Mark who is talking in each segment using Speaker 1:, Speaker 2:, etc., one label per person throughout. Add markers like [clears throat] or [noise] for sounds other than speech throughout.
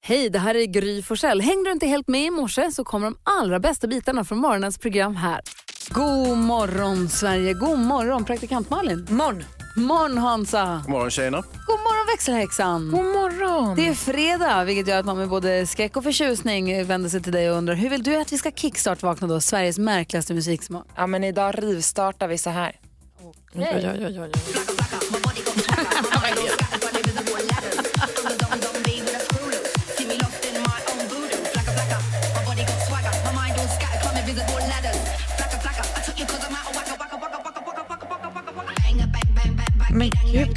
Speaker 1: Hej, det här är Gry Forssell. Hängde du inte helt med i morse så kommer de allra bästa bitarna från morgonens program här. God morgon Sverige, god morgon praktikant Malin.
Speaker 2: Morgon.
Speaker 1: Morgon Hansa.
Speaker 3: God morgon tjejerna.
Speaker 1: God morgon växelhäxan.
Speaker 2: God morgon.
Speaker 1: Det är fredag vilket gör att man med både skräck och förtjusning vänder sig till dig och undrar hur vill du att vi ska kickstart-vakna då? Sveriges märkligaste musiksmak.
Speaker 2: Ja, men idag rivstartar vi så här. Oj, oj, oj, oj.
Speaker 4: Men gud.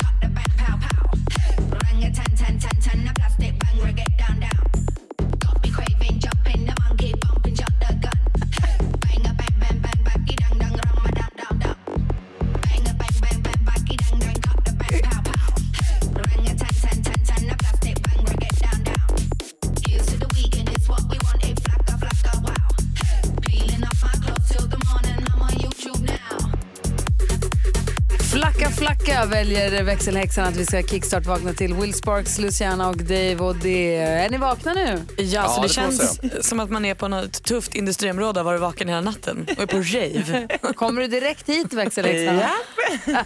Speaker 1: Flacka flacka väljer växelhäxan att vi ska kickstart-vakna till. Will Sparks, Luciana och Dave och det. Är ni vakna nu?
Speaker 5: Ja, så det,
Speaker 3: det får man
Speaker 5: känns som att man är på något tufft industriområde och har varit vaken hela natten och är på rave.
Speaker 1: Kommer du direkt hit växelhäxan? Ja.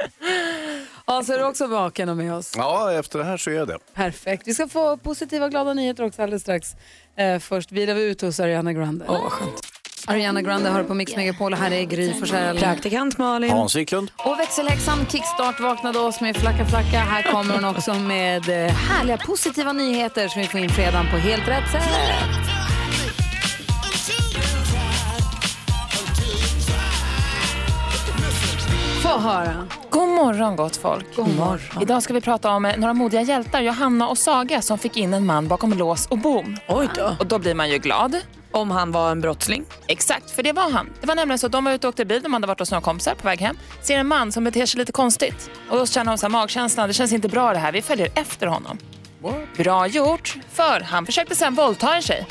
Speaker 1: [laughs] Hans, är du också vaken och med oss?
Speaker 3: Ja, efter det här så är jag det.
Speaker 1: Perfekt. Vi ska få positiva och glada nyheter också alldeles strax. Eh, först vilar vi ut hos Ariana Grande.
Speaker 5: Åh, vad skönt.
Speaker 1: Ariana Grande hör på Mix Megapol och här är Gry Forssell.
Speaker 5: Praktikant Malin.
Speaker 3: Hans Wiklund.
Speaker 1: Och växelhäxan Kickstart vaknade oss med Flacka Flacka. Här kommer hon också med eh, härliga positiva nyheter som vi får in fredagen på helt rätt sätt. Få höra.
Speaker 2: God morgon, gott folk.
Speaker 1: God morgon.
Speaker 2: Idag ska vi prata om eh, några modiga hjältar, Johanna och Saga, som fick in en man bakom lås och bom.
Speaker 5: Oj då.
Speaker 2: Och då blir man ju glad.
Speaker 5: Om han var en brottsling.
Speaker 2: Exakt, för det var han. Det var nämligen så att de var ute och åkte bil, de hade varit hos några kompisar på väg hem. Ser en man som beter sig lite konstigt. Och då känner de så här magkänslan, det känns inte bra det här, vi följer efter honom. Bra gjort, för han försökte sen våldta en tjej.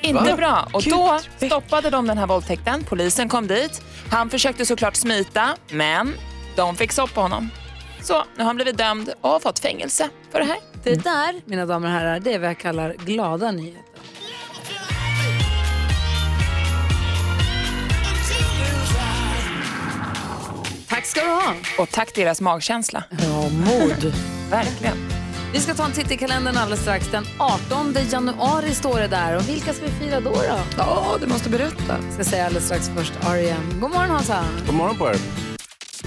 Speaker 2: Inte bra. Och då stoppade de den här våldtäkten, polisen kom dit. Han försökte såklart smita, men de fick stopp på honom. Så nu har han blivit dömd och har fått fängelse för det här.
Speaker 1: Det där, mina damer och herrar, det är vad jag kallar glada nyheter. Tack ska du ha.
Speaker 2: Och tack deras magkänsla.
Speaker 5: Ja, mod.
Speaker 2: Verkligen.
Speaker 1: Vi ska ta en titt i kalendern alldeles strax. Den 18 januari står det där. Och vilka ska vi fira då? då?
Speaker 5: Ja, du måste berätta.
Speaker 1: Jag ska säga alldeles strax först R.E.M. God morgon Hansa!
Speaker 3: God morgon på er.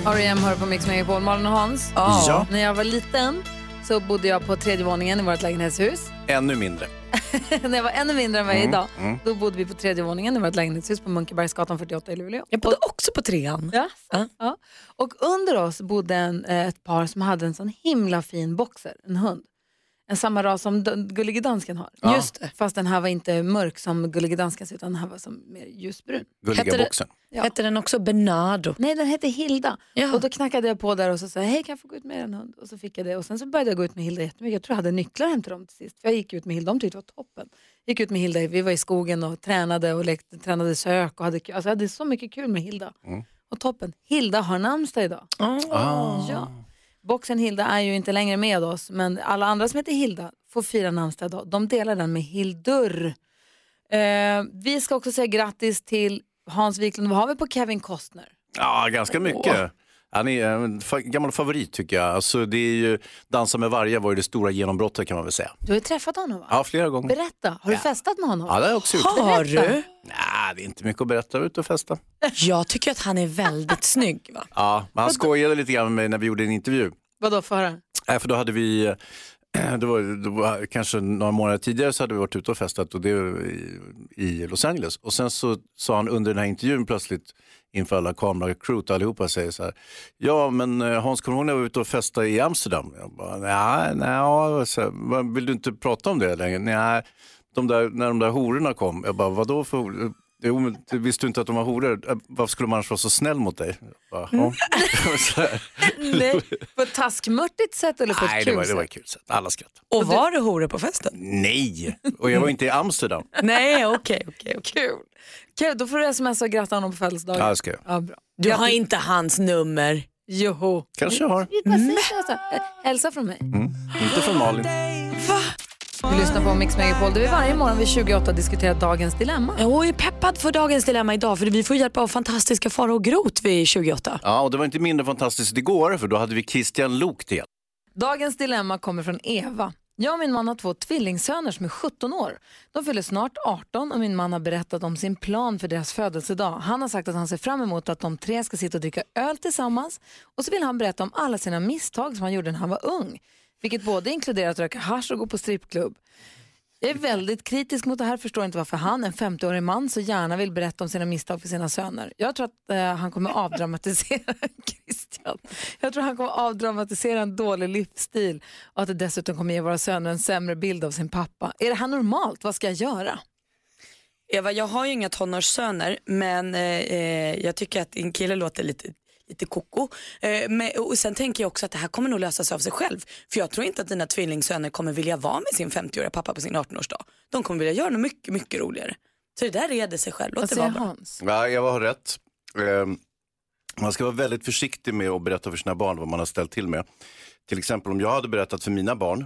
Speaker 1: R.E.M. hör på Mix Megapol. Malin och Hans.
Speaker 3: Ja.
Speaker 1: När jag var liten så bodde jag på tredje våningen i vårt lägenhetshus.
Speaker 3: Ännu mindre.
Speaker 1: [laughs] när jag var ännu mindre än vad jag
Speaker 3: Mm,
Speaker 1: är idag, då bodde vi på tredje våningen i vårt lägenhetshus på Munkebergsgatan 48 i Luleå.
Speaker 5: Jag bodde också på trean.
Speaker 1: Ja.
Speaker 5: Ja.
Speaker 1: Ja. Och under oss bodde en, eh, ett par som hade en sån himla fin boxer, en hund. En samma ras som d- Gullige Dansken har.
Speaker 3: Ja.
Speaker 5: Just det.
Speaker 1: Fast den här var inte mörk som Gullige Danskens utan den här var som mer ljusbrun.
Speaker 3: Gulliga
Speaker 5: Hette det-
Speaker 3: boxen.
Speaker 1: Ja.
Speaker 5: Hette den också Bernardo?
Speaker 1: Nej, den hette Hilda.
Speaker 5: Ja.
Speaker 1: Och då knackade jag på där och så sa jag, hej kan jag få gå ut med en hund? Och så fick jag det och sen så började jag gå ut med Hilda jättemycket. Jag tror jag hade nycklar hem till dem till sist. För jag gick ut med Hilda, de tyckte det var toppen. Gick ut med Hilda, vi var i skogen och tränade och lekte, tränade sök och hade kul. Alltså jag hade så mycket kul med Hilda.
Speaker 3: Mm.
Speaker 1: Och toppen, Hilda har namnsdag idag.
Speaker 3: Ah.
Speaker 1: Ja. Boxen Hilda är ju inte längre med oss, men alla andra som heter Hilda får fira namnsdag idag. De delar den med Hildur. Eh, vi ska också säga grattis till Hans Wiklund. Vad har vi på Kevin Costner?
Speaker 3: Ja, ganska mycket. Han är en fa- gammal favorit tycker jag. Alltså, det är ju, Dansa med vargar var ju det stora genombrottet kan man väl säga.
Speaker 1: Du har ju träffat honom va?
Speaker 3: Ja, flera gånger.
Speaker 1: Berätta, har du festat med honom?
Speaker 3: Ja, det har jag också gjort.
Speaker 5: Har du?
Speaker 3: Nej, det är inte mycket att berätta. Ut och festa.
Speaker 5: Jag tycker att han är väldigt snygg. Va?
Speaker 3: Ja, men han skojade lite grann med mig när vi gjorde en intervju.
Speaker 1: Vadå för höra?
Speaker 3: Nej, för då hade vi, [clears throat] eh, det var, det var, kanske några månader tidigare så hade vi varit ute och festat och det, i, i Los Angeles. Och sen så sa han under den här intervjun plötsligt inför alla kameracrewet och allihopa säger så här. Ja men eh, Hans, kommer du ihåg när vi var ute och festade i Amsterdam? Jag bara, nej, nej, så här, "Vad, vill du inte prata om det längre? Nej, de där, när de där hororna kom. Jag bara, vadå för horor? Jo, men du visste du inte att de var horor? "Eh, Varför skulle man annars vara så snäll mot dig? Jag bara, "Ja." [laughs] Så här. [laughs]
Speaker 1: Nej, på ett taskmörtigt sätt eller på ett
Speaker 3: Nej, det
Speaker 1: kul
Speaker 3: var, det var
Speaker 1: sätt?
Speaker 3: ett kul sätt. Alla skrattade.
Speaker 5: Och var du hore på festen?
Speaker 3: Nej, och jag var inte i Amsterdam.
Speaker 5: Nej, okej. okej, okej.
Speaker 1: Kul! Kul, då får du smsa och gratta honom på födelsedagen.
Speaker 3: Ja, det ska jag.
Speaker 1: Ja, bra.
Speaker 5: Du har inte hans nummer.
Speaker 1: Joho!
Speaker 3: Kanske jag har. Mm.
Speaker 1: Precis, alltså. Eh, Hälsa från mig.
Speaker 3: Inte från Malin.
Speaker 1: lyssnar på Mix Megapol där vi varje morgon vid 28 diskuterar dagens dilemma.
Speaker 5: Jag är peppad för dagens dilemma idag för vi får hjälp av fantastiska Farao och Grot vid 28.
Speaker 3: Ja, och det var inte mindre fantastiskt igår för då hade vi Christian Lok till hjälp.
Speaker 1: Dagens dilemma kommer från Eva. Jag och min man har två tvillingsöner som är 17 år. De fyller snart 18 och min man har berättat om sin plan för deras födelsedag. Han har sagt att han ser fram emot att de tre ska sitta och dricka öl tillsammans och så vill han berätta om alla sina misstag som han gjorde när han var ung. Vilket både inkluderar att röka hasch och gå på strippklubb. Jag är väldigt kritisk mot det här, förstår inte varför han, en 50-årig man, så gärna vill berätta om sina misstag för sina söner. Jag tror att eh, han kommer avdramatisera Christian. Jag tror han kommer avdramatisera en dålig livsstil och att det dessutom kommer ge våra söner en sämre bild av sin pappa. Är det här normalt? Vad ska jag göra?
Speaker 6: Eva, jag har ju inga tonårssöner men eh, eh, jag tycker att din kille låter lite, lite koko. Eh, men, och sen tänker jag också att det här kommer nog lösa sig av sig själv. För jag tror inte att dina tvillingsöner kommer vilja vara med sin 50-åriga pappa på sin 18-årsdag. De kommer vilja göra något mycket, mycket roligare. Så det där reder sig själv, låt
Speaker 1: Vad
Speaker 6: det
Speaker 1: säger
Speaker 6: vara bra.
Speaker 1: Hans?
Speaker 3: Ja, Eva har rätt. Ehm, man ska vara väldigt försiktig med att berätta för sina barn vad man har ställt till med. Till exempel om jag hade berättat för mina barn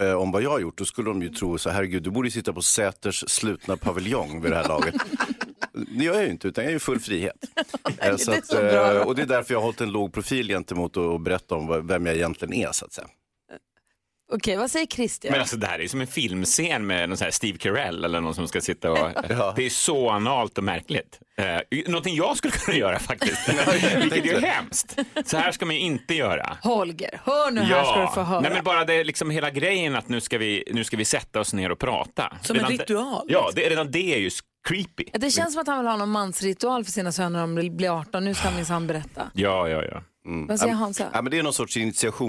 Speaker 3: eh, om vad jag har gjort, då skulle de ju tro så här, herregud, du borde ju sitta på Säters slutna paviljong vid det
Speaker 1: [laughs]
Speaker 3: här laget. Det gör jag ju inte, utan jag är ju full frihet. Eh, så att, eh, och det är därför jag har hållit en låg profil gentemot att berätta om vad- vem jag egentligen är, så att säga.
Speaker 1: Okej, vad säger Christian?
Speaker 7: Men alltså det här är ju som en filmscen med någon så här Steve Carell eller någon som ska
Speaker 1: [laughs]
Speaker 7: sitta och...
Speaker 3: Ja.
Speaker 7: Det är så analt och märkligt. Eh, någonting jag skulle [laughs] kunna
Speaker 1: [laughs]
Speaker 7: göra faktiskt, [laughs] vilket är ju hemskt. Så här ska man ju inte göra.
Speaker 1: Holger, hör nu här ska du få höra.
Speaker 7: Nej, men bara det är liksom hela grejen att nu ska, vi, nu ska vi sätta oss ner och prata.
Speaker 6: Som en
Speaker 7: Redan det-
Speaker 6: ritual,
Speaker 7: Ja, det, redan det är ju creepy.
Speaker 1: Det känns som att han vill ha någon mansritual för sina söner om de blir 18. Nu ska han minsann berätta.
Speaker 7: Ja, ja, ja.
Speaker 1: Vad säger Hans? här?
Speaker 3: Mm. Ja, men det är någon sorts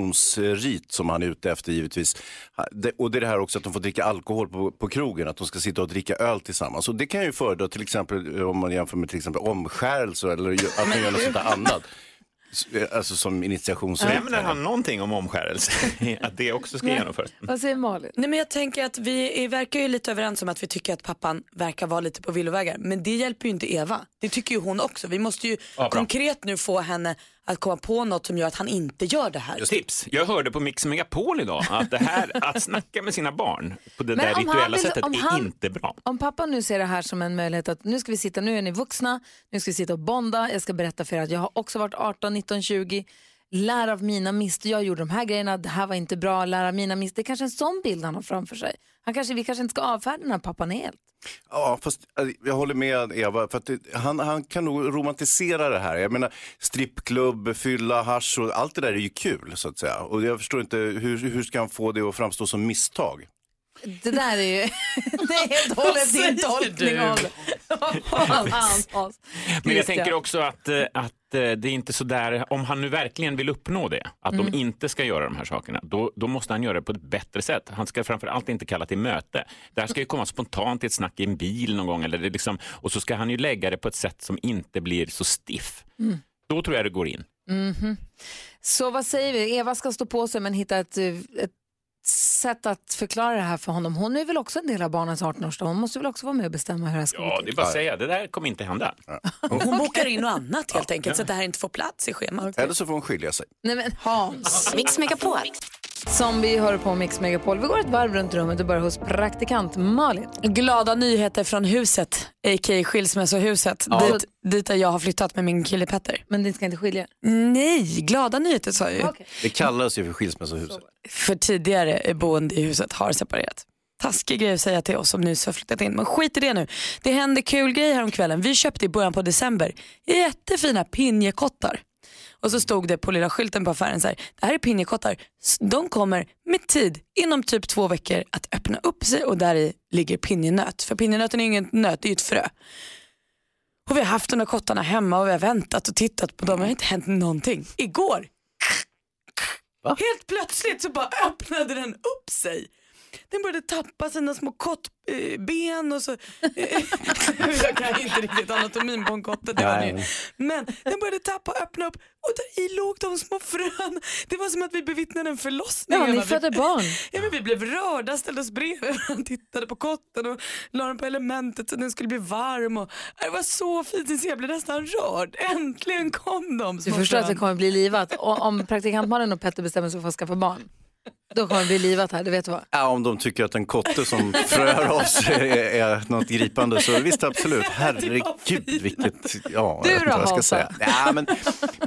Speaker 3: initiationsrit som han är ute efter givetvis. Ha- det- Och det är det här också att de får dricka alkohol på, på krogen, att de ska sitta och dricka öl tillsammans. Och det kan jag ju föredra till exempel eh, om man jämför med till exempel omskärelse eller ju- att man gör något sånt där annat. S- eh, Alltså som initiationsrit.
Speaker 7: Nämner han någonting om omskärelse? [laughs] att det också ska genomföras? Mm.
Speaker 1: Vad säger Malin?
Speaker 6: Nej, men jag tänker att vi är, verkar ju lite överens om att vi tycker att pappan verkar vara lite på villovägar. Men det hjälper ju inte Eva. Det tycker ju hon också. Vi måste ju
Speaker 7: bra.
Speaker 6: konkret nu få henne att komma på något som gör att han inte gör det här.
Speaker 7: Just tips. Jag hörde på Mix Megapol idag att det här att snacka med sina barn på det
Speaker 1: Men
Speaker 7: där
Speaker 1: om han
Speaker 7: rituella
Speaker 1: vill-
Speaker 7: sättet
Speaker 1: om
Speaker 7: är
Speaker 1: han-
Speaker 7: inte bra.
Speaker 1: Om pappa nu ser det här som en möjlighet att nu ska vi sitta, nu är ni vuxna, nu ska vi sitta och bonda, jag ska berätta för er att jag har också varit 18, 19, 20, lär av mina misstag, jag gjorde de här grejerna, det här var inte bra, lär av mina misstag. Det är kanske en sån bild han har framför sig. Han kanske, vi kanske inte ska avfärda den här pappan helt.
Speaker 3: Ja, fast eh, jag håller med Eva. För att det, han, han kan nog romantisera det här. Jag menar, strippklubb, fylla, hasch och allt det där är ju kul så att säga. Och jag förstår inte, hur, hur ska han få det att framstå som misstag?
Speaker 1: Det där är ju, [laughs] det är helt och hållet din tolkning av [laughs] det. Hans, Hans, Hans.
Speaker 7: Men jag
Speaker 1: Christian.
Speaker 7: tänker också att, eh, att eh, det är inte så där, om han nu verkligen vill uppnå det, att de inte ska göra de här sakerna, då, då måste han göra det på ett bättre sätt. Han ska framför allt inte kalla till möte. Det här ska ju komma spontant i ett snack i en bil någon gång, eller det liksom, och så ska han ju lägga det på ett sätt som inte blir så stiff. Då tror jag det går in.
Speaker 1: Mhm. Så vad säger vi? Eva ska stå på sig men hitta ett, eh, ett sätt att förklara det här för honom. Hon är väl också en del av barnens 18-årsdag? Hon måste väl också vara med och bestämma hur det här ska gå
Speaker 7: Ja,
Speaker 1: till?
Speaker 7: det är bara att säga, det där kommer inte hända.
Speaker 6: Hon bokar in något annat helt enkelt så att det här inte får plats i schemat.
Speaker 3: Eller så får hon skilja sig.
Speaker 1: Nej, men Hans,
Speaker 4: Mix Megapol.
Speaker 1: som vi hör på Mix Megapol. Vi går ett varv runt rummet och börjar hos praktikant Malin.
Speaker 5: Glada nyheter från huset, a.k.a. skilsmässohuset, dit, dit där jag har flyttat med min kille Petter.
Speaker 1: Men ni ska inte skilja
Speaker 5: Nej, glada nyheter sa jag ju.
Speaker 3: Det kallas ju för skilsmässohuset.
Speaker 5: För tidigare boende i huset har separerat. Taskig grej att säga till oss som nyss har flyttat in. Men skit i det nu. Det hände kul grej häromkvällen. Vi köpte i början på december jättefina pinjekottar. Och så stod det på lilla skylten på affären så här. Det här är pinjekottar. S- De kommer med tid inom typ två veckor att öppna upp sig och där i ligger pinjenöt. För pinjenöten är ju ingen nöt, det är ju ett frö. Och vi har haft de där kottarna hemma och vi har väntat och tittat på dem. Det har inte hänt någonting. Igår Helt plötsligt så bara öppnade den upp sig. Den började tappa sina små kottben och så... [laughs] eh, jag kan inte riktigt anatomin på en kotte. Det var det. Men den började tappa och öppna upp och där i låg de små frön. Det var som att vi bevittnade en förlossning.
Speaker 1: Ja, ni
Speaker 5: Jag bara,
Speaker 1: födde
Speaker 5: vi-
Speaker 1: barn.
Speaker 5: [laughs] Ja, men vi blev rörda, ställde oss bredvid varandra, tittade på kotten och la den på elementet så den skulle bli varm. Och, det var så fint, så jag blev nästan rörd. Äntligen kom de
Speaker 1: Du
Speaker 5: små
Speaker 1: förstår att det
Speaker 5: frön.
Speaker 1: kommer bli livat. Och om praktikant Malin och Petter bestämmer sig för att skaffa barn, Då kommer det bli livat här, det vet du vad.
Speaker 3: Ja, om de tycker att en
Speaker 1: [laughs]
Speaker 3: kotte som fröar av sig är, är något gripande så visst absolut. Herregud vilket, ja,
Speaker 1: Du
Speaker 3: jag vet inte
Speaker 1: då,
Speaker 3: vad jag ska
Speaker 1: Hansa?
Speaker 3: säga. Ja, men,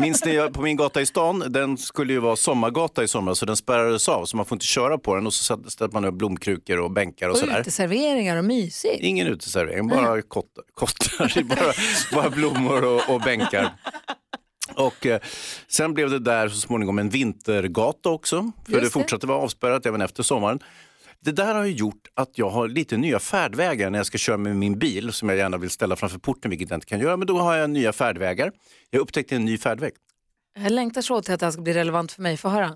Speaker 3: minns ni jag- på min gata i stan, den skulle ju vara sommargata i somras så den spärrades av så man får inte köra på den och så satt- ställde man upp blomkrukor och bänkar och,
Speaker 1: Och
Speaker 3: sådär.
Speaker 1: uteserveringar och mysigt.
Speaker 3: Ingen uteservering, bara kottar, kottar [laughs] det är bara, bara blommor och, och bänkar. Och eh, sen blev det där så småningom en vintergata också, för
Speaker 1: Just
Speaker 3: det
Speaker 1: det.
Speaker 3: fortsatte vara avspärrat även efter sommaren. Det där har ju gjort att jag har lite nya färdvägar när jag ska köra med min bil som jag gärna vill ställa framför porten, vilket jag inte kan göra. Men då har jag nya färdvägar. Jag upptäckte en ny färdväg.
Speaker 1: Jag längtar så till att det här ska bli relevant för mig, få höra.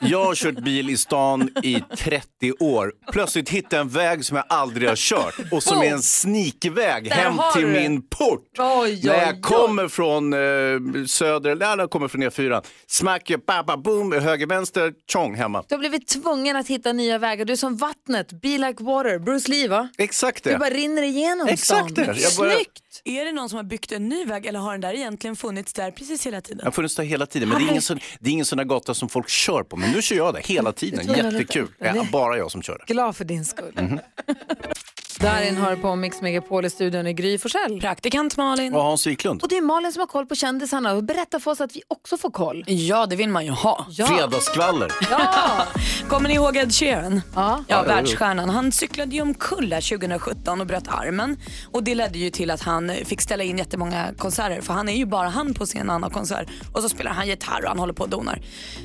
Speaker 3: Jag har kört bil i stan i 30 år. Plötsligt hittade jag en väg som jag aldrig har kört och som är en sneakväg hem
Speaker 1: har
Speaker 3: till
Speaker 1: du det.
Speaker 3: min port.
Speaker 1: Oj,
Speaker 3: När jag kommer från eh, söder, eller när jag kommer från E4, smack, baba, boom, höger, vänster, tjong hemma.
Speaker 1: Du har blivit tvungen att hitta nya vägar. Du är som vattnet, be like water, Bruce Lee va?
Speaker 3: Exakt
Speaker 1: Du
Speaker 3: det.
Speaker 1: bara rinner igenom
Speaker 3: Exakt det.
Speaker 1: stan.
Speaker 3: Jag börjar-
Speaker 1: Snyggt!
Speaker 5: Är det någon som har byggt en ny väg eller har den där egentligen funnits där precis hela
Speaker 3: Jag
Speaker 5: tiden?
Speaker 3: har funnits där hela tiden, men det är, ingen sån, det är ingen sån där gata som folk kör på. Men nu kör jag där hela tiden,
Speaker 1: tror jag var lite-
Speaker 3: jättekul. Ja, bara jag som kör där.
Speaker 1: Glad för din skull.
Speaker 3: Mhm.
Speaker 1: [laughs] Darin har på Mix Megapol i studion i Gry Forssell.
Speaker 5: Praktikant Malin.
Speaker 3: Och Hans Wiklund,
Speaker 1: Och det är Malin som har koll på kändisarna och berätta för oss att vi också får koll.
Speaker 5: Ja, det vill man ju ha.
Speaker 3: fredagskvaller.
Speaker 5: Kommer ni ihåg Ed Sheeran?
Speaker 1: Ja.
Speaker 5: ja, världsstjärnan. Han cyklade ju omkull här 2017 och bröt armen. Och det ledde ju till att han fick ställa in jättemånga konserter. För han är ju bara han på scen när han har konsert. Och så spelar han gitarr och han håller på och donar.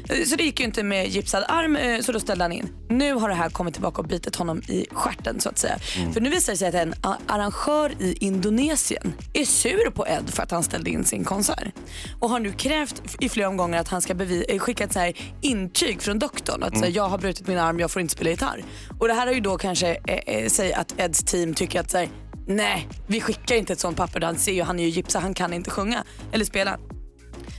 Speaker 5: Eh, Så det gick ju inte med gipsad arm eh, så då ställde han in. Nu har det här kommit tillbaka och bitit honom i stjärten så att säga. För nu visar det sig att en a- arrangör i Indonesien är sur på Ed för att han ställde in sin konsert. Och har nu krävt f- i flera omgångar att han ska bevi- eh, skicka ett så här intyg från doktorn. Att så här, jag har brutit min arm, jag får inte spela gitarr. Och det här har ju då kanske, eh, eh, säg att Eds team tycker att så här, nej, vi skickar inte ett sånt papper. Han ser ju, han är ju gipsad, han kan inte sjunga eller spela.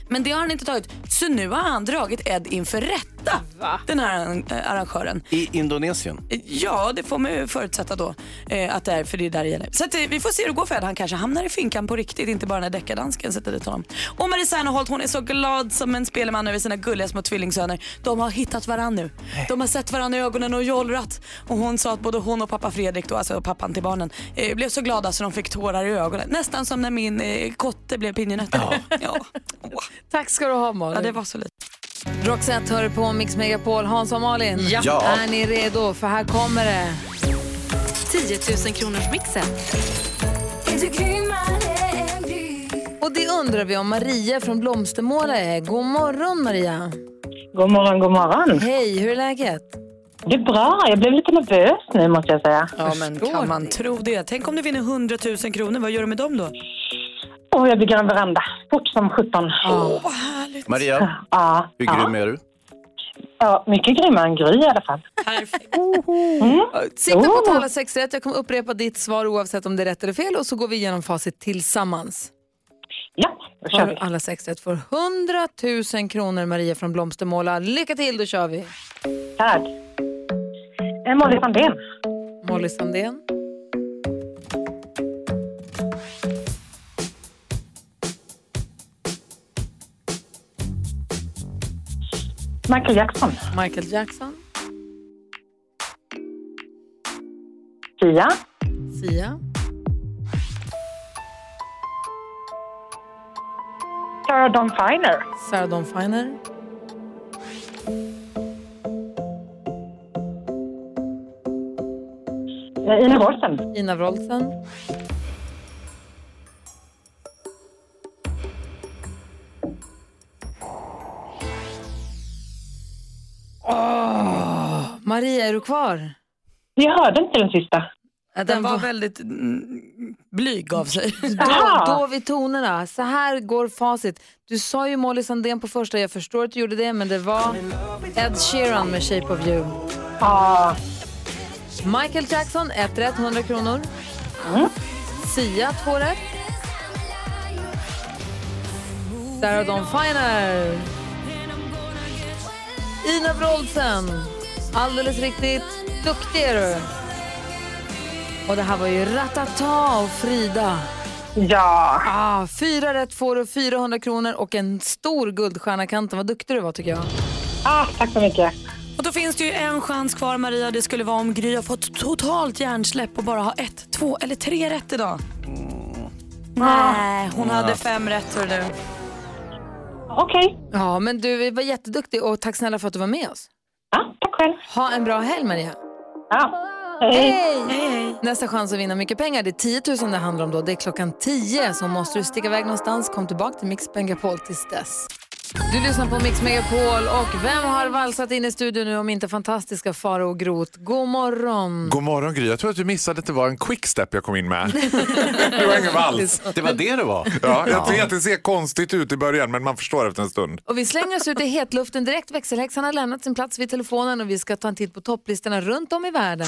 Speaker 5: Men det har han inte tagit, så nu har han dragit Ed inför rätta. Den här arran- eh, arrangören.
Speaker 3: I Indonesien.
Speaker 5: Ja, det får man ju förutsätta då. Eh, att det är, för det är där det gäller. Så att, eh, vi får se hur det går för Ed. Han kanske hamnar i finkan på riktigt, inte bara när deckardansken sätter dit honom. Och Marie Serneholt, hon är så glad som en spelman över sina gulliga små tvillingsöner. De har hittat varandra nu. De har sett varandra i ögonen och jollrat. Och hon sa att både hon och pappa Fredrik, då, alltså pappan till barnen, eh, blev så glada så de fick tårar i ögonen. Nästan som när min eh, kotte blev pinjenötter. Ja. [laughs] Ja. Åh,
Speaker 1: Tack ska du ha Malin.
Speaker 5: ja, det var så lite.
Speaker 1: Roxette hör på Mix Megapol. Hans och Malin,
Speaker 3: Ja.
Speaker 1: är ni redo? För här kommer det.
Speaker 8: 10 000 kronors mixen.
Speaker 1: Och det undrar vi om Maria från Blomstermåla är. God morgon Maria.
Speaker 9: God morgon, god morgon.
Speaker 1: Hej, hur är läget?
Speaker 9: Det är bra. Jag blev lite nervös nu måste jag säga.
Speaker 5: Ja, men kan man tro det? Tänk om du vinner 100 000 kronor, vad gör du med dem då?
Speaker 9: Och Oh, jag bygger en veranda fort som sjutton.
Speaker 5: Åh, vad härligt.
Speaker 3: Maria,
Speaker 9: Ja,
Speaker 3: hur
Speaker 9: ja.
Speaker 3: grym är du?
Speaker 9: ja, mycket grymmare än Gry i alla fall. Mm.
Speaker 1: Sikta på att ta alla sex rätt. Jag kommer upprepa ditt svar oavsett om det är rätt eller fel och så går vi igenom facit tillsammans.
Speaker 9: Ja, då
Speaker 1: Har
Speaker 9: kör
Speaker 1: du
Speaker 9: vi.
Speaker 1: alla sex rätt får 100 000 kronor Maria från Blomstermåla. Lycka till, då kör vi.
Speaker 9: Tack. Eh, Molly Sandén.
Speaker 1: Molly Sandén.
Speaker 9: Michael Jackson.
Speaker 1: Michael Jackson.
Speaker 9: Sia.
Speaker 1: Sia.
Speaker 9: Sarah Dawn Finer.
Speaker 1: Sarah Dawn Finer.
Speaker 9: Eh, Ine Wolsen.
Speaker 1: Ina Wroldsen. Åh, Maria, är du kvar?
Speaker 9: Jag hörde inte den sista.
Speaker 1: Den,
Speaker 5: Den var väldigt mm, blyg av sig.
Speaker 1: Då,
Speaker 9: Aha!
Speaker 1: då vid tonerna. Så här går facit. Du sa ju Molly Sandén på första, jag förstår att du gjorde det, men det var Ed Sheeran med Shape of You.
Speaker 9: Ja,
Speaker 1: Michael Jackson, ett rätt, 100 kronor. Sia, två rätt. Sarah Dawn Finer. Ina Wroldsen. Alldeles riktigt. Duktig är du. Och det här var ju Ratata och Frida.
Speaker 9: ja.
Speaker 1: Ah, fyra rätt får du 400 kronor och en stor guldstjärna i kanten. Vad duktig du var tycker jag.
Speaker 9: Ah, tack så mycket.
Speaker 5: Och då finns det ju en chans kvar Maria. Det skulle vara om Gry har fått totalt hjärnsläpp och bara har ett, två eller tre rätt idag. Nej,
Speaker 1: Ah.
Speaker 5: hon hade fem rätt hör du.
Speaker 9: Okej.
Speaker 1: Ja, men du vi var jätteduktig och tack snälla för att du var med oss.
Speaker 9: Ja, tack själv.
Speaker 1: Ha en bra helg Maria.
Speaker 9: Ja. Hej.
Speaker 1: Nästa chans att vinna mycket pengar, det är 10 000 det handlar om då. Det är klockan 10 så måste du sticka iväg någonstans. Kom tillbaka till Mix Megapol tills dess. Du lyssnar på Mix Megapol och vem har valsat in i studion nu om inte fantastiska Faro och Grot? God morgon!
Speaker 10: God morgon Gry, jag tror att du missade att det var en quickstep jag kom in
Speaker 3: [laughs]
Speaker 10: med. Det var ingen vals.
Speaker 3: Det var det det var.
Speaker 10: Ja, jag vet, det ser konstigt ut i början men man förstår efter en stund.
Speaker 1: Och vi slänger oss ut i hetluften direkt. Växelhäxan har lämnat sin plats vid telefonen och vi ska ta en titt på topplistorna runt om i världen.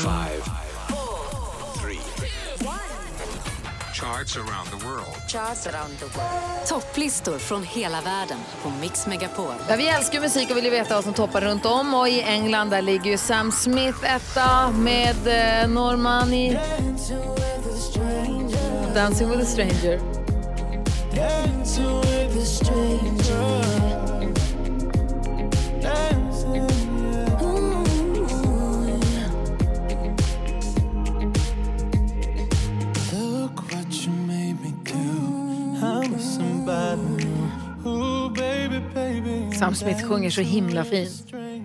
Speaker 8: Topplistor från hela världen på Mix Megapol.
Speaker 1: Ja, vi älskar ju musik och vill ju veta vad som toppar runt om. Och i England där ligger ju Sam Smith etta med eh, Normani. Dancing with a stranger. Sam Smith sjunger så himla fint.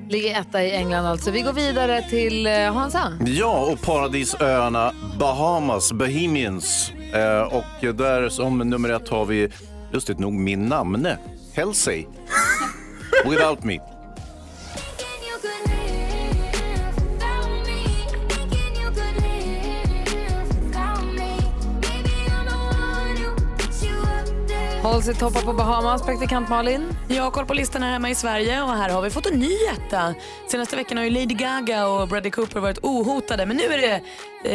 Speaker 1: Ligger etta i England alltså. Vi går vidare till eh, Hansa.
Speaker 3: Ja, och paradisöarna Bahamas, Bahamians. Eh, och där som nummer ett har vi, lustigt nog, min namne, Halsey. Without me.
Speaker 1: Håll sig toppar på Bahamas, praktikant Malin.
Speaker 5: Jag har koll på listan här hemma i Sverige och här har vi fått en ny etta. Senaste veckan har ju Lady Gaga och Bradley Cooper varit ohotade men nu är det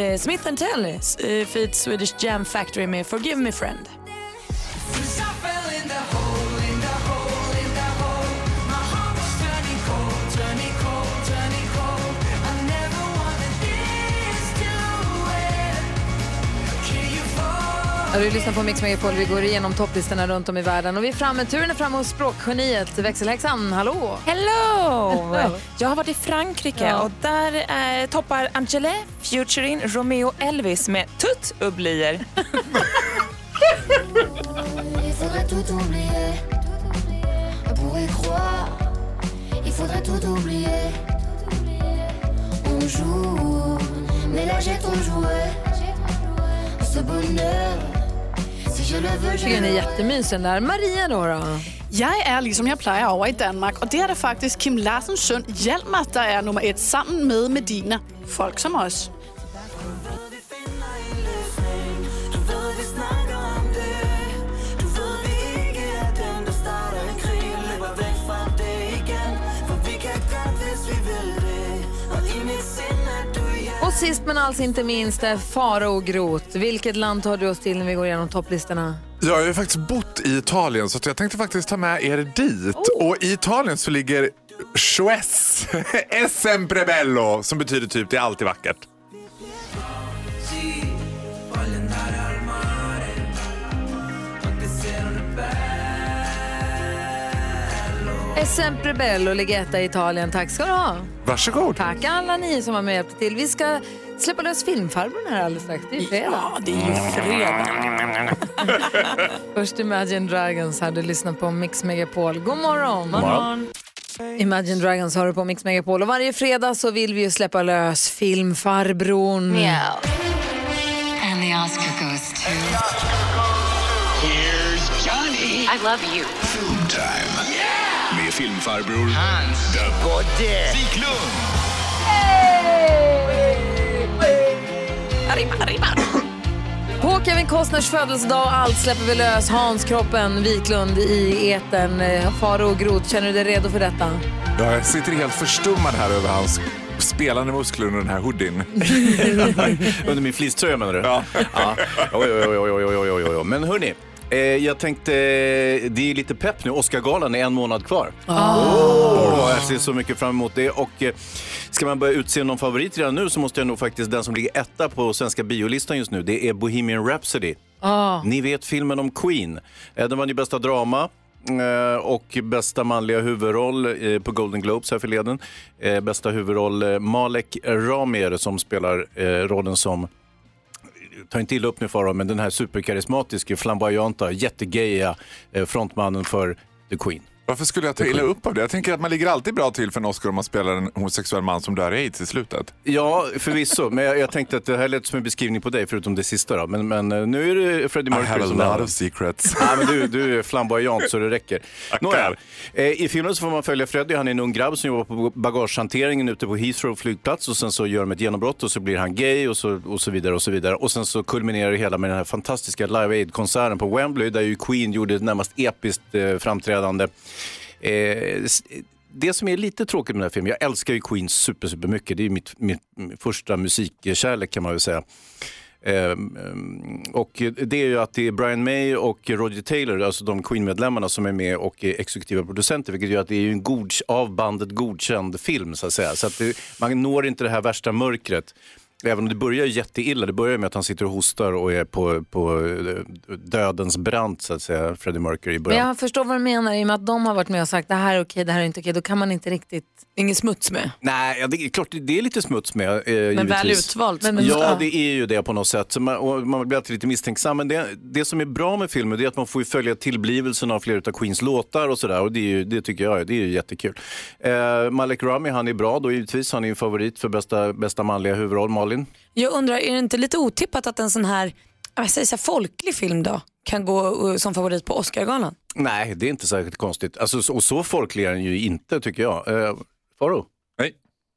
Speaker 5: eh, Smith Tell eh, feat Swedish Jam Factory med Forgive Me Friend.
Speaker 1: Ja, Du lyssnar på Mix Megapol. Vi går igenom topplistorna runt om i världen. Och vi är framme. Turen är framme hos språkgeniet Växelhäxan. Hallå! [laughs]
Speaker 2: Hello! Jag har varit i Frankrike och där eh, toppar Angele featuring Romeo Elvis med Tut Ublier.
Speaker 4: Il faudrait tout oublier. On pourrait croire. Il faudrait tout oublier. On joue. Mais là j'ai ton jouet. Ce bonheur. Si je le veux, je
Speaker 1: tycker den är
Speaker 4: le
Speaker 1: jättemysig den där. Maria då? då?
Speaker 11: Jeg er, ligesom jeg plejer, over i Danmark, og det er der faktisk Kim Larsens søn Hjalmar, der er nummer et sammen med Medina. Folk som os.
Speaker 1: Och sist men alls inte minst är Faro och Grot. Vilket land tar du oss till när vi går igenom topplistorna?
Speaker 10: Jag har ju faktiskt bott i Italien så att jag tänkte faktiskt ta med er dit.
Speaker 3: Oh.
Speaker 10: Och i Italien så ligger Suez, [laughs] è sempre bello, som betyder typ det är alltid vackert.
Speaker 1: Sempre bello ligger etta i Italien. Tack ska du ha.
Speaker 10: Varsågod.
Speaker 1: Tack alla ni som var med och hjälpte till. Vi ska släppa lös filmfarbrorn här alldeles strax. Det er är ju fredag.
Speaker 6: Ja, det är
Speaker 4: Mm.
Speaker 6: ju fredag.
Speaker 1: Först Imagine Dragons här. Du lyssnar på Mix Megapol. God morgon. Imagine Dragons har du på Mix Megapol. Och varje fredag så vill vi ju släppa lös filmfarbrorn.
Speaker 8: And the Oscar goes to... Here's Johnny! I love you.
Speaker 12: Med filmfarbror Hans Gode Wiklund.
Speaker 1: På Kevin Costners födelsedag och allt släpper vi lös. Hans Kroppen Wiklund i eten. Faro och Groth, känner du dig redo för detta?
Speaker 10: Ja, jag sitter helt förstummad här över hans spelande muskler under den här hoodien.
Speaker 3: Under min fleecetröja menar du? Ja. Oj, oj, oj, oj, oj, oj, oj, oj. Men hörni, eh, jag tänkte, eh, det är lite pepp nu. Oscargalan är en månad kvar. Åh, jag ser så mycket fram emot det. Och eh, ska man börja utse någon favorit redan nu så måste jag nog faktiskt, den som ligger etta på svenska biolistan just nu, det är Bohemian Rhapsody. Ni vet filmen om Queen. Eh, Den vann ju bästa drama. eh, och bästa manliga huvudroll eh, på Golden Globes här förleden. Eh, Bästa huvudroll eh, Malek Ramir som spelar eh, rollen som ta inte illa upp nu Farao, men den här superkarismatiske, flamboyanta, jättegeja eh, frontmannen för The Queen.
Speaker 10: Varför skulle jag ta illa upp av det? Jag tänker att man ligger alltid bra till för en Oscar om man spelar en homosexuell man som dör i aids i slutet.
Speaker 3: Ja, förvisso. Men jag, jag tänkte att det här lät som en beskrivning på dig, förutom det sista. Då. Men, men eh, nu är det Freddie
Speaker 10: I
Speaker 3: Mercury
Speaker 10: have a
Speaker 3: som
Speaker 10: lot
Speaker 3: namn.
Speaker 1: [laughs]
Speaker 10: of secrets.
Speaker 3: Ja, [laughs] men du, du är flamboyant så det räcker. Nåja, eh, I filmen så får man följa Freddie. Han är en ung grabb som jobbar på bagagehanteringen ute på Heathrow flygplats och sen så gör de ett genombrott och så blir han gay och så, och så vidare och så vidare. Och sen så kulminerar det hela med den här fantastiska Live Aid-konserten på Wembley där ju Queen gjorde ett närmast episkt eh, framträdande. Eh, s- det som är lite tråkigt med den här filmen, jag älskar ju Queen super, super mycket. Det är ju mitt, mitt första musikkärlek kan man väl säga. Ehm, ehm, och det är ju att det är Brian May och Roger Taylor, alltså de Queen-medlemmarna som är med och är exekutiva producenter, vilket gör att det är ju en god, av bandet godkänd film så att säga. Så att det, man når inte det här värsta mörkret. Även om det börjar ju jätteilla, det börjar ju med att han sitter och hostar och är på, på eh, dödens brant så att säga, Freddie Mercury i
Speaker 1: Men
Speaker 3: början.
Speaker 1: jag förstår vad du menar i och med att de har varit med och sagt det här är okej, det här är inte okej. Då kan man inte riktigt...
Speaker 5: Ingen smuts med.
Speaker 3: Nej, ja, det är klart det är lite smuts med. Eh, givetvis.
Speaker 5: väl utvalt
Speaker 1: Men- men-
Speaker 3: ja,
Speaker 1: ja.
Speaker 3: det är ju det på något sätt. Så man, och man blir alltid lite misstänksam. Men det, det som är bra med filmen det är att man får ju följa tillblivelsen av flera av Queens låtar och sådär. Och det, är ju, det tycker jag är- det är ju jättekul. Eh, Malek Rami, han är bra då givetvis. Han är ju en favorit för bästa, bästa manliga huvudroll. Malin?
Speaker 5: Jag undrar, är det inte lite otippat att en sån här, jag säger så här folklig film då, kan gå eh, som favorit på Oscargalan?
Speaker 3: Nej, det är inte särskilt konstigt. Alltså, så- och så folklig är den ju inte tycker jag. Eh, Faro?
Speaker 10: Nej.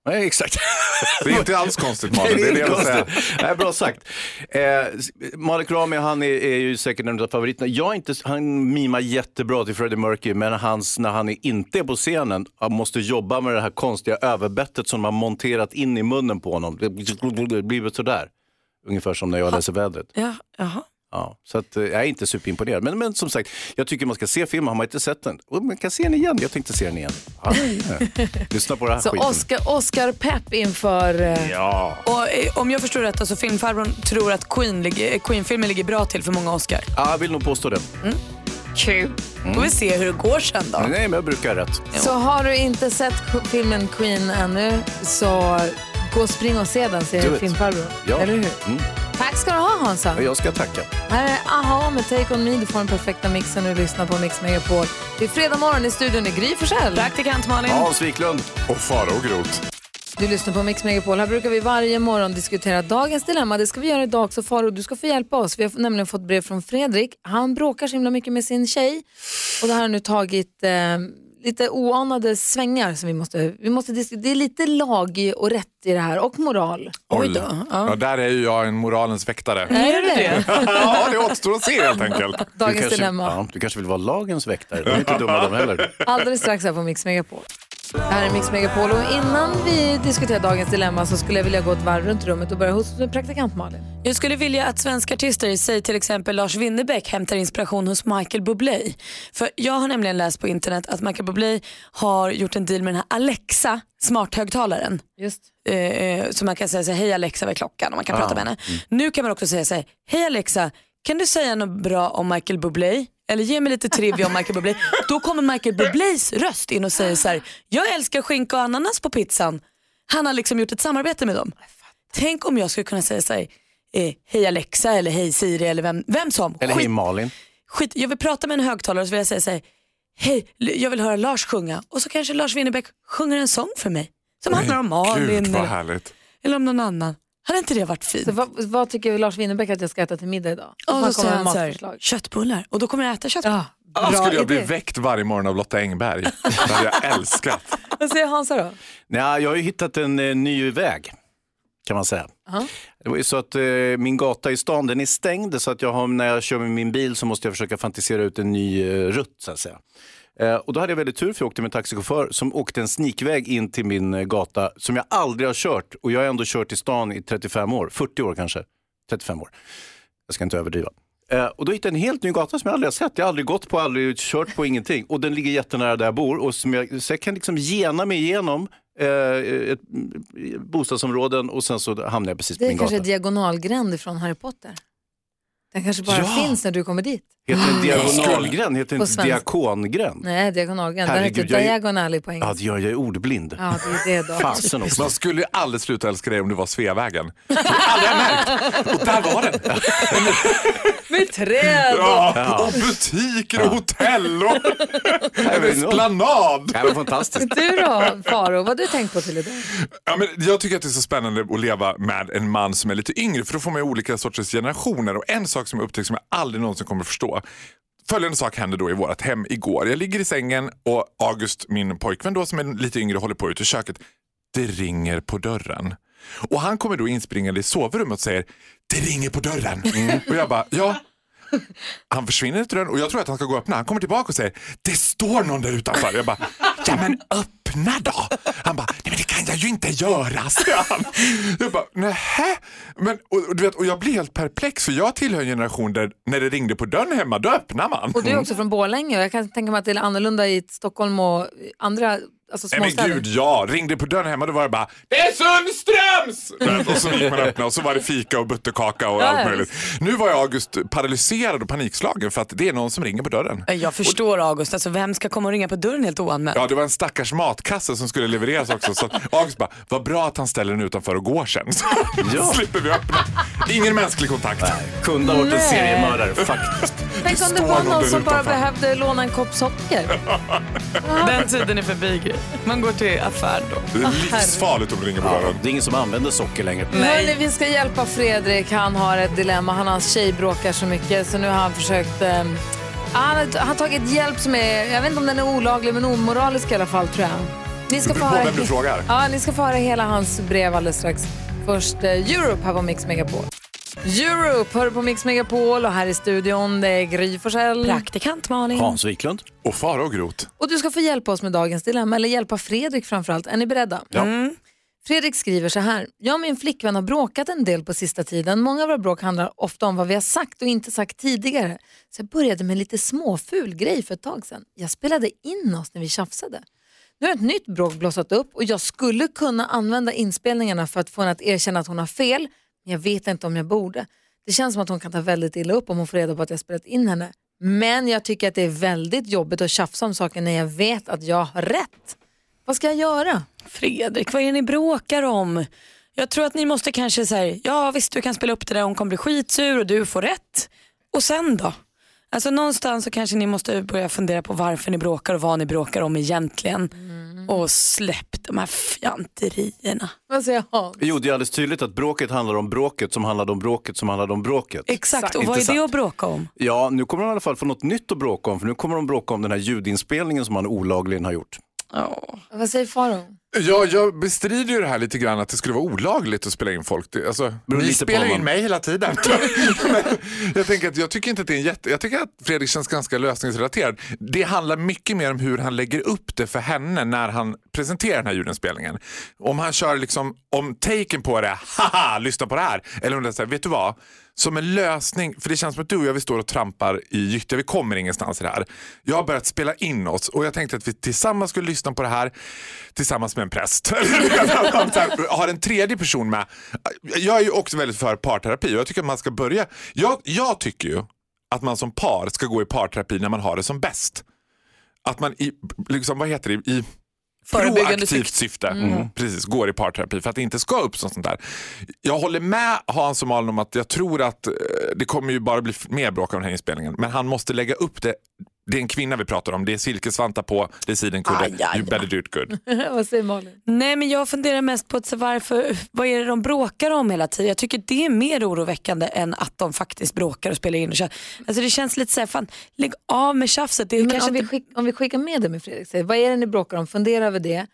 Speaker 3: Nej, exakt.
Speaker 10: Det är inte alls konstigt, Malin.
Speaker 3: [laughs] Nej,
Speaker 10: Det är det jag vill säga.
Speaker 3: konstigt. Nej, bra sagt. Eh, Malik Rami, han är, är ju säkert en av favoriterna. Jag är inte, han mimar jättebra till Freddie Mercury, men hans, när han är inte är på scenen, han måste jobba med det här konstiga överbettet som man monterat in i munnen på honom. Det blir väl sådär. Ungefär som när jag läser vädret.
Speaker 5: Ja, jaha.
Speaker 3: Ja, så att, eh, jag är inte superimponerad. Men, men som sagt, jag tycker man ska se filmen. Har man inte sett den, oh, man kan se den igen. Jag tänkte se den igen. Ja, ja. Lyssna på det här
Speaker 1: Så
Speaker 3: skiten.
Speaker 1: Oscar, Oscar-pepp inför... eh,
Speaker 3: Ja.
Speaker 5: Och eh, om jag förstår rätt så alltså, filmfarbrorn tror att Queen ligger, eh, Queen-filmen ligger bra till för många Oscar.
Speaker 3: ja, jag vill nog påstå det.
Speaker 5: Kul. Mm. Får vi se hur det går sen då.
Speaker 3: Nej, men jag brukar ha rätt.
Speaker 1: Så har du inte sett filmen Queen ännu så gå och spring och se den,
Speaker 3: Do
Speaker 1: säger
Speaker 3: it.
Speaker 1: filmfarbror.
Speaker 3: Ja.
Speaker 1: Eller hur?
Speaker 3: Mm.
Speaker 1: Tack ska du ha Hansa.
Speaker 3: Ja, Jag ska tacka.
Speaker 1: Här är Aha med Take On Me. Du får den perfekta mixen och lyssnar på Mix Megapol. Det är fredag morgon i studion i Gry Forssell.
Speaker 5: Praktikant Malin.
Speaker 3: Hans Wiklund.
Speaker 10: Och Farao Groth.
Speaker 1: Du lyssnar på Mix Megapol. Här brukar vi varje morgon diskutera dagens dilemma. Det ska vi göra idag också. Faro, du ska få hjälpa oss. Vi har nämligen fått brev från Fredrik. Han bråkar så himla mycket med sin tjej. Och det här har nu tagit eh, lite oanade svängar. Som vi måste, vi måste dis- det är lite lag och rätt i det här och moral.
Speaker 10: Ja. där är ju jag en moralens väktare.
Speaker 1: Är du det?
Speaker 10: [laughs] ja, det återstår att se helt enkelt.
Speaker 1: [laughs] Dagens
Speaker 3: du kanske,
Speaker 1: dilemma.
Speaker 3: Ja, du kanske vill vara lagens väktare. De är inte dumma de heller.
Speaker 1: Alldeles strax här på Mix Megapol. Det här är Mix Megapol och innan vi diskuterar dagens dilemma så skulle jag vilja gå ett varv runt rummet och börja hos praktikant Malin.
Speaker 5: Jag skulle vilja att svenska artister, säg till exempel Lars Winnerbäck, hämtar inspiration hos Michael Bublé. För jag har nämligen läst på internet att Michael Bublé har gjort en deal med den här Alexa, smarthögtalaren.
Speaker 1: Just.
Speaker 5: Eh, eh, så man kan säga så här, hej Alexa vad är klockan och man kan
Speaker 1: Ah,
Speaker 5: prata med henne. Nu kan man också säga så här, hej Alexa kan du säga något bra om Michael Bublé? Eller ge mig lite trivia om Michael Bublé. Då kommer Michael Bublés röst in och säger så här, jag älskar skinka och ananas på pizzan. Han har liksom gjort ett samarbete med dem. Tänk om jag skulle kunna säga så här, eh, hej Alexa eller hej Siri eller vem, vem som.
Speaker 3: Eller
Speaker 5: Skit-
Speaker 3: hej Malin.
Speaker 5: skit, jag vill prata med en högtalare och så vill jag säga så här, hej, l- jag vill höra Lars sjunga och så kanske Lars Winnerbäck sjunger en sång för mig som handlar om Malin
Speaker 10: Gud,
Speaker 1: eh,
Speaker 10: vad
Speaker 5: eller,
Speaker 10: härligt.
Speaker 5: eller om någon annan. Hade inte det varit fint?
Speaker 1: Så vad, vad tycker Lars Winnerbäck att jag ska äta till middag idag?
Speaker 5: och
Speaker 1: Man
Speaker 5: så
Speaker 1: kommer
Speaker 5: säger
Speaker 1: med
Speaker 5: han så här,
Speaker 1: matförslag.
Speaker 5: köttbullar och då kommer jag äta köttbullar.
Speaker 10: Då skulle jag bli väckt varje morgon av Lotta
Speaker 3: [laughs]
Speaker 10: Engberg. Det hade jag älskat.
Speaker 1: Vad säger Hansa då?
Speaker 3: Nej, jag har ju hittat en eh, ny väg, kan man säga. Det var ju så att eh, min gata i stan den är stängd så att jag har, när jag kör med min bil så måste jag försöka fantisera ut en ny eh, rutt så att säga. Eh, och då hade jag väldigt tur för jag åkte med en taxichaufför som åkte en snikväg in till min eh, gata som jag aldrig har kört och jag har ändå kört i stan i 35 år, 40 år kanske, 35 år. Jag ska inte överdriva. Eh, och då hittade jag en helt ny gata som jag aldrig har sett. Jag har aldrig gått på, aldrig kört på, ingenting. Och den ligger jättenära där jag bor. Och som jag, så jag kan liksom gena mig igenom eh, ett, bostadsområden och sen så hamnar jag precis på
Speaker 1: Det
Speaker 3: min
Speaker 1: är kanske
Speaker 3: gata.
Speaker 1: är diagonalgränd från Harry Potter. Den kanske bara
Speaker 3: Ja.
Speaker 1: finns när du kommer dit.
Speaker 3: Heter det
Speaker 1: Nej.
Speaker 5: Ah,
Speaker 3: diagonalgränd? Heter
Speaker 1: På
Speaker 3: det inte
Speaker 1: svenska.
Speaker 3: diagongränd?
Speaker 1: [gasps] Nej, diagonalgränd. typ Den
Speaker 3: Herregud,
Speaker 1: heter
Speaker 3: jag är-
Speaker 1: diagonali på
Speaker 3: Ja,
Speaker 1: engelska.
Speaker 3: jag jag är ordblind.
Speaker 1: Ja, det är det då.
Speaker 3: Fasen också.
Speaker 10: Man skulle ju aldrig sluta älska dig om du var Sveavägen.
Speaker 1: Med träd och...
Speaker 10: Ja, och butiker och hotell och en esplanad.
Speaker 3: Det var fantastiskt.
Speaker 1: [laughs] Du då, Faro, vad har du tänkt på till idag?
Speaker 10: Ja, men jag tycker att det är så spännande att leva med en man som är lite yngre för då får man ju olika sorters generationer och en sak som jag upptäckt som jag aldrig någonsin kommer förstå. Följande sak hände då i vårt hem igår. Jag ligger i sängen och August, min pojkvän då som är lite yngre, håller på ute i köket. Det ringer på dörren. Och han kommer då inspringande i sovrummet och säger Det ringer på dörren. Och jag bara, ja. Han försvinner ut dörren och jag tror att han ska gå och öppna. Han kommer tillbaka och säger det står någon där utanför. Jag bara, ja men öppna då. Han bara, nej men det kan jag ju inte göra, säger han. Jag bara, nähä. Men, och, och, du vet, och jag blir helt perplex för jag tillhör en generation där när det ringde på dörren hemma, då öppnar man. Mm.
Speaker 1: Och du är också från Borlänge och jag kan tänka mig att det är annorlunda i Stockholm och andra alltså
Speaker 10: Nej men
Speaker 1: småstäder.
Speaker 10: gud ja, ringde på dörren hemma då var det bara Det är Sundströms! Du vet, Och så gick man och öppnade och så var det fika och butterkaka och
Speaker 5: Ja,
Speaker 10: allt
Speaker 5: ja,
Speaker 10: möjligt. Nu var jag August paralyserad och panikslagen för att det är någon som ringer på dörren.
Speaker 5: Jag förstår August, alltså, vem ska komma och ringa på dörren helt oanmält?
Speaker 10: Ja, det var en stackars matkasse som skulle levereras också. Så att August bara, vad bra att han ställer den utanför och går sen. Så [laughs] slipper vi öppna. Ingen mänsklig kontakt.
Speaker 3: Kunde
Speaker 1: ha varit en Nej. seriemördare,
Speaker 10: faktiskt.
Speaker 1: Tänk om det
Speaker 10: står
Speaker 1: var
Speaker 10: någon
Speaker 1: någon
Speaker 10: där
Speaker 1: som bara
Speaker 10: utanför.
Speaker 1: behövde låna en kopp socker.
Speaker 5: Den tiden är förbi Gry. Man går till affär då.
Speaker 10: Det är livsfarligt om du ringer på dörren.
Speaker 3: Det är ingen som använder socker längre.
Speaker 1: Hörni, vi ska hjälpa Fredrik. Han har ett dilemma. Han och hans tjej bråkar så mycket så nu har han försökt... Eh, han, har- han har tagit hjälp som är... Jag vet inte om den är olaglig men omoralisk i alla fall tror jag. Ni ska
Speaker 10: Det
Speaker 1: få
Speaker 10: beror på vem du frågar.
Speaker 1: Ja, ni ska få höra hela hans brev alldeles strax. Först eh, Europe här på Mix Megapol. Europe hör du på Mix Megapol och här i studion det är Gry Forssell. Praktikant Malin.
Speaker 3: Hans Wiklund.
Speaker 10: Och Faro Groth.
Speaker 1: Och du ska få hjälpa oss med dagens dilemma, eller hjälpa Fredrik framförallt. Är ni beredda? Mm.
Speaker 3: Ja.
Speaker 1: Fredrik skriver så här. Jag och min flickvän har bråkat en del på sista tiden. Många av våra bråk handlar ofta om vad vi har sagt och inte sagt tidigare. Så jag började med en lite småful grej för ett tag sedan. Jag spelade in oss när vi tjafsade. Nu har ett nytt bråk blossat upp och jag skulle kunna använda inspelningarna för att få henne att erkänna att hon har fel, men jag vet inte om jag borde. Det känns som att hon kan ta väldigt illa upp om hon får reda på att jag spelat in henne. Men jag tycker att det är väldigt jobbigt att tjafsa om saker när jag vet att jag har rätt. Vad ska jag göra?
Speaker 5: Fredrik, vad är det ni bråkar om? Jag tror att ni måste kanske säga, ja visst du kan spela upp det där, hon kommer bli skitsur och du får rätt. Och sen då? Alltså någonstans så kanske ni måste börja fundera på varför ni bråkar och vad ni bråkar om egentligen. Och släpp de här fjanterierna.
Speaker 1: Mm. Vad säger Hans?
Speaker 3: Jo, det är alldeles tydligt att bråket handlar om bråket som handlade om bråket som handlade om bråket.
Speaker 5: Exakt, och vad är
Speaker 3: Intressant.
Speaker 5: det att bråka om?
Speaker 3: Ja, nu kommer de i alla fall få något nytt att bråka om, för nu kommer de bråka om den här ljudinspelningen som han olagligen har gjort.
Speaker 1: Vad säger Faro?
Speaker 10: Ja, jag bestrider ju det här lite grann att det skulle vara olagligt att spela in folk. Det- Alltså,
Speaker 3: Beror
Speaker 10: ni
Speaker 3: lite på
Speaker 10: spelar
Speaker 3: om
Speaker 10: ju in
Speaker 3: man-
Speaker 10: mig hela
Speaker 3: [laughs]
Speaker 10: tiden. Men jag, tänker att, jag tycker inte att det är en jätte... Jag tycker att Fredrik känns ganska lösningsrelaterad. Det handlar mycket mer om hur han lägger upp det för henne när han presenterar den här ljudinspelningen. Om han kör liksom, om taken på det, haha, lyssna på det här. Eller om det är så här, vet du vad? Som en lösning, för det känns som att du och jag vi står och trampar i gyttja, vi kommer ingenstans i det här. Jag har börjat spela in oss och jag tänkte att vi tillsammans skulle lyssna på det här tillsammans med en präst. [laughs] Så här, har en tredje person med. Jag är ju också väldigt för parterapi och jag tycker att man ska börja. Jag, jag tycker ju att man som par ska gå i parterapi när man har det som bäst. Att man i, liksom, vad heter det, i
Speaker 12: Förebyggande
Speaker 10: proaktivt
Speaker 12: syfte.
Speaker 10: syfte
Speaker 12: Mm.
Speaker 10: precis, går i parterapi för att det inte ska uppstå sånt där. Jag håller med Hans och Malin om att jag tror att eh, det kommer ju bara bli f- mer bråk av den här inspelningen. Men han måste lägga upp det. Det är en kvinna vi pratar om. Det är silkesvantar på, det är sidenkudde.
Speaker 5: Aj, aj,
Speaker 10: You better do it good.
Speaker 1: [laughs] Vad säger Malin?
Speaker 5: Nej men jag funderar mest på att så varför, vad är det de bråkar om hela tiden? Jag tycker det är mer oroväckande än att de faktiskt bråkar och spelar in och tjafsar. Alltså det känns lite såhär, fan lägg av med tjafset. Det är
Speaker 1: Men
Speaker 5: kanske
Speaker 1: om, vi
Speaker 5: inte-
Speaker 1: skick, om vi skickar med det med Fredrik, säger, vad är det ni bråkar om? Fundera över det.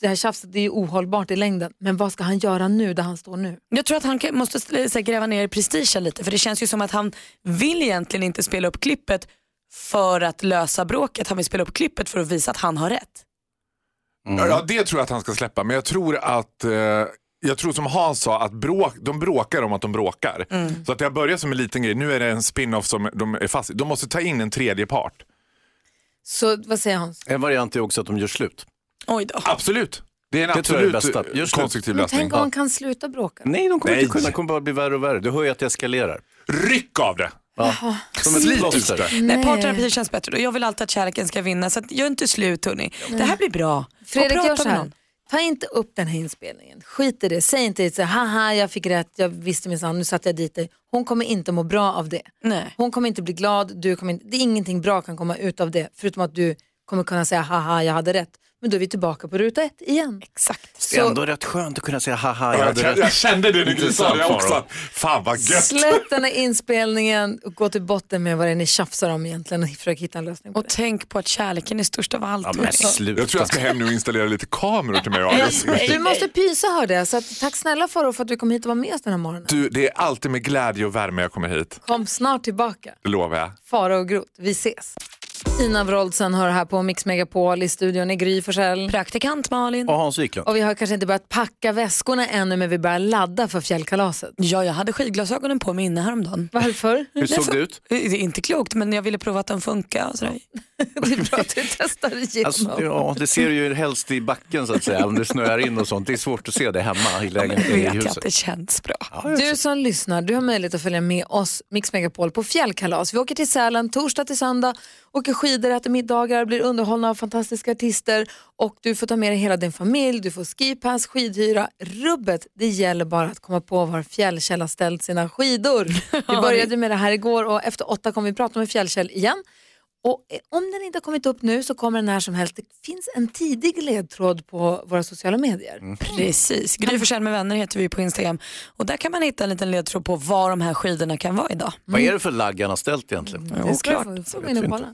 Speaker 1: Det här tjafset det är ju ohållbart i längden, men vad ska han göra nu där han står nu?
Speaker 5: Jag tror att han kan- måste så här, gräva ner i prestigen lite för det känns ju som att han vill egentligen inte spela upp klippet för att lösa bråket. Han vill spela upp klippet för att visa att han har rätt.
Speaker 3: Mm.
Speaker 10: Ja, Ja, det tror jag att han ska släppa. Men jag tror att eh, jag tror som Hans sa, att bråk, de bråkar om att de bråkar.
Speaker 5: Mm.
Speaker 10: Så att det har börjat som en liten grej. Nu är det en spin-off som de är fast i. De måste ta in en tredje part.
Speaker 1: Så vad säger Hans?
Speaker 3: En variant är också att de gör slut.
Speaker 5: Oj då.
Speaker 10: Absolut. Det är en
Speaker 3: Det tror jag är
Speaker 10: absolut
Speaker 3: det bästa. Just nu.
Speaker 10: konstruktiv
Speaker 1: Men
Speaker 10: lösning.
Speaker 1: tänk om man kan sluta bråka.
Speaker 3: Nej, de kommer
Speaker 10: Nej.
Speaker 3: inte kunna. Det kommer bara bli värre och värre. Du hör ju att det eskalerar.
Speaker 10: Ryck av det!
Speaker 1: Ja.
Speaker 3: Som ett
Speaker 5: Slit
Speaker 3: plåster.
Speaker 5: Nej, parterapi känns bättre och jag vill alltid att kärleken ska vinna så att gör inte slut hörni. Det här blir bra.
Speaker 1: Fredrik,
Speaker 5: Och prata
Speaker 1: gör så
Speaker 5: med
Speaker 1: här.
Speaker 5: någon.
Speaker 1: Ta inte upp den här inspelningen. Skit i det. Säg inte så här, haha, jag fick rätt, jag visste minsann, nu satte jag dit dig. Hon kommer inte må bra av det.
Speaker 5: Nej.
Speaker 1: Hon kommer inte bli glad, du kommer inte, det är ingenting bra kan komma ut av det. Förutom att du kommer kunna säga, haha, jag hade rätt. Men då är vi tillbaka på ruta ett igen.
Speaker 5: Exakt.
Speaker 3: Det är ändå rätt skönt att kunna säga haha, jag
Speaker 10: Jag,
Speaker 3: hade
Speaker 10: kände, jag
Speaker 3: rätt.
Speaker 10: kände det när du
Speaker 3: Intressant,
Speaker 10: sa det också.
Speaker 3: Faro.
Speaker 10: Fan vad gött.
Speaker 1: Släpp den här inspelningen och gå till botten med vad det är ni tjafsar om egentligen och försök hitta en lösning på
Speaker 5: Och tänk på att kärleken är störst av allt. Alltså.
Speaker 3: Ja, men
Speaker 5: hörni.
Speaker 3: sluta.
Speaker 10: Jag tror jag ska hem nu och installera lite kameror
Speaker 5: [laughs]
Speaker 10: till mig och Alice.
Speaker 1: det. Du måste pysa hör det, så att, tack snälla Farao för att du kom hit och var med oss den här morgonen.
Speaker 10: Du, det är alltid med glädje och värme jag kommer hit.
Speaker 1: Kom snart tillbaka.
Speaker 10: Det lovar jag.
Speaker 1: Farao och Groth, vi ses. Ina Wroldsen hör här på Mix Megapol i studion i Gry Forssell.
Speaker 5: Praktikant Malin.
Speaker 3: Och Hans Wiklund.
Speaker 1: Och vi har kanske inte börjat packa väskorna ännu men vi börjar ladda för fjällkalaset.
Speaker 5: Ja, jag hade skidglasögonen på mig inne häromdagen.
Speaker 1: Varför?
Speaker 3: Hur såg det ut?
Speaker 5: Det är inte klokt men jag ville prova att de funkar. och sådär.
Speaker 1: Det är bra att du testar igenom.
Speaker 3: Alltså, ja, det ser ju helst i backen så att säga, om det snöar in och sånt. Det är svårt att se det hemma i lägenheten i
Speaker 5: vet jag att
Speaker 3: huset.
Speaker 5: det känns bra.
Speaker 1: Du som lyssnar, du har möjlighet att följa med oss, Mix Megapol, på fjällkalas. Vi åker till Sälen torsdag till söndag, åker skidor, äter middagar, blir underhållna av fantastiska artister och du får ta med dig hela din familj, du får skipass, skidhyra, rubbet. Det gäller bara att komma på var Fjällkäll har ställt sina skidor. Vi började med det här igår och efter åtta kommer vi prata med Fjällkäll igen. Och eh, om den inte har kommit upp nu så kommer den när som helst. Det finns en tidig ledtråd på våra sociala medier.
Speaker 5: Precis. Gry Forssell med vänner heter vi på Instagram och där kan man hitta en liten ledtråd på var de här skidorna kan vara idag.
Speaker 3: Vad är det för lagg han har ställt egentligen?
Speaker 1: Det ska du få- får gå in och kolla.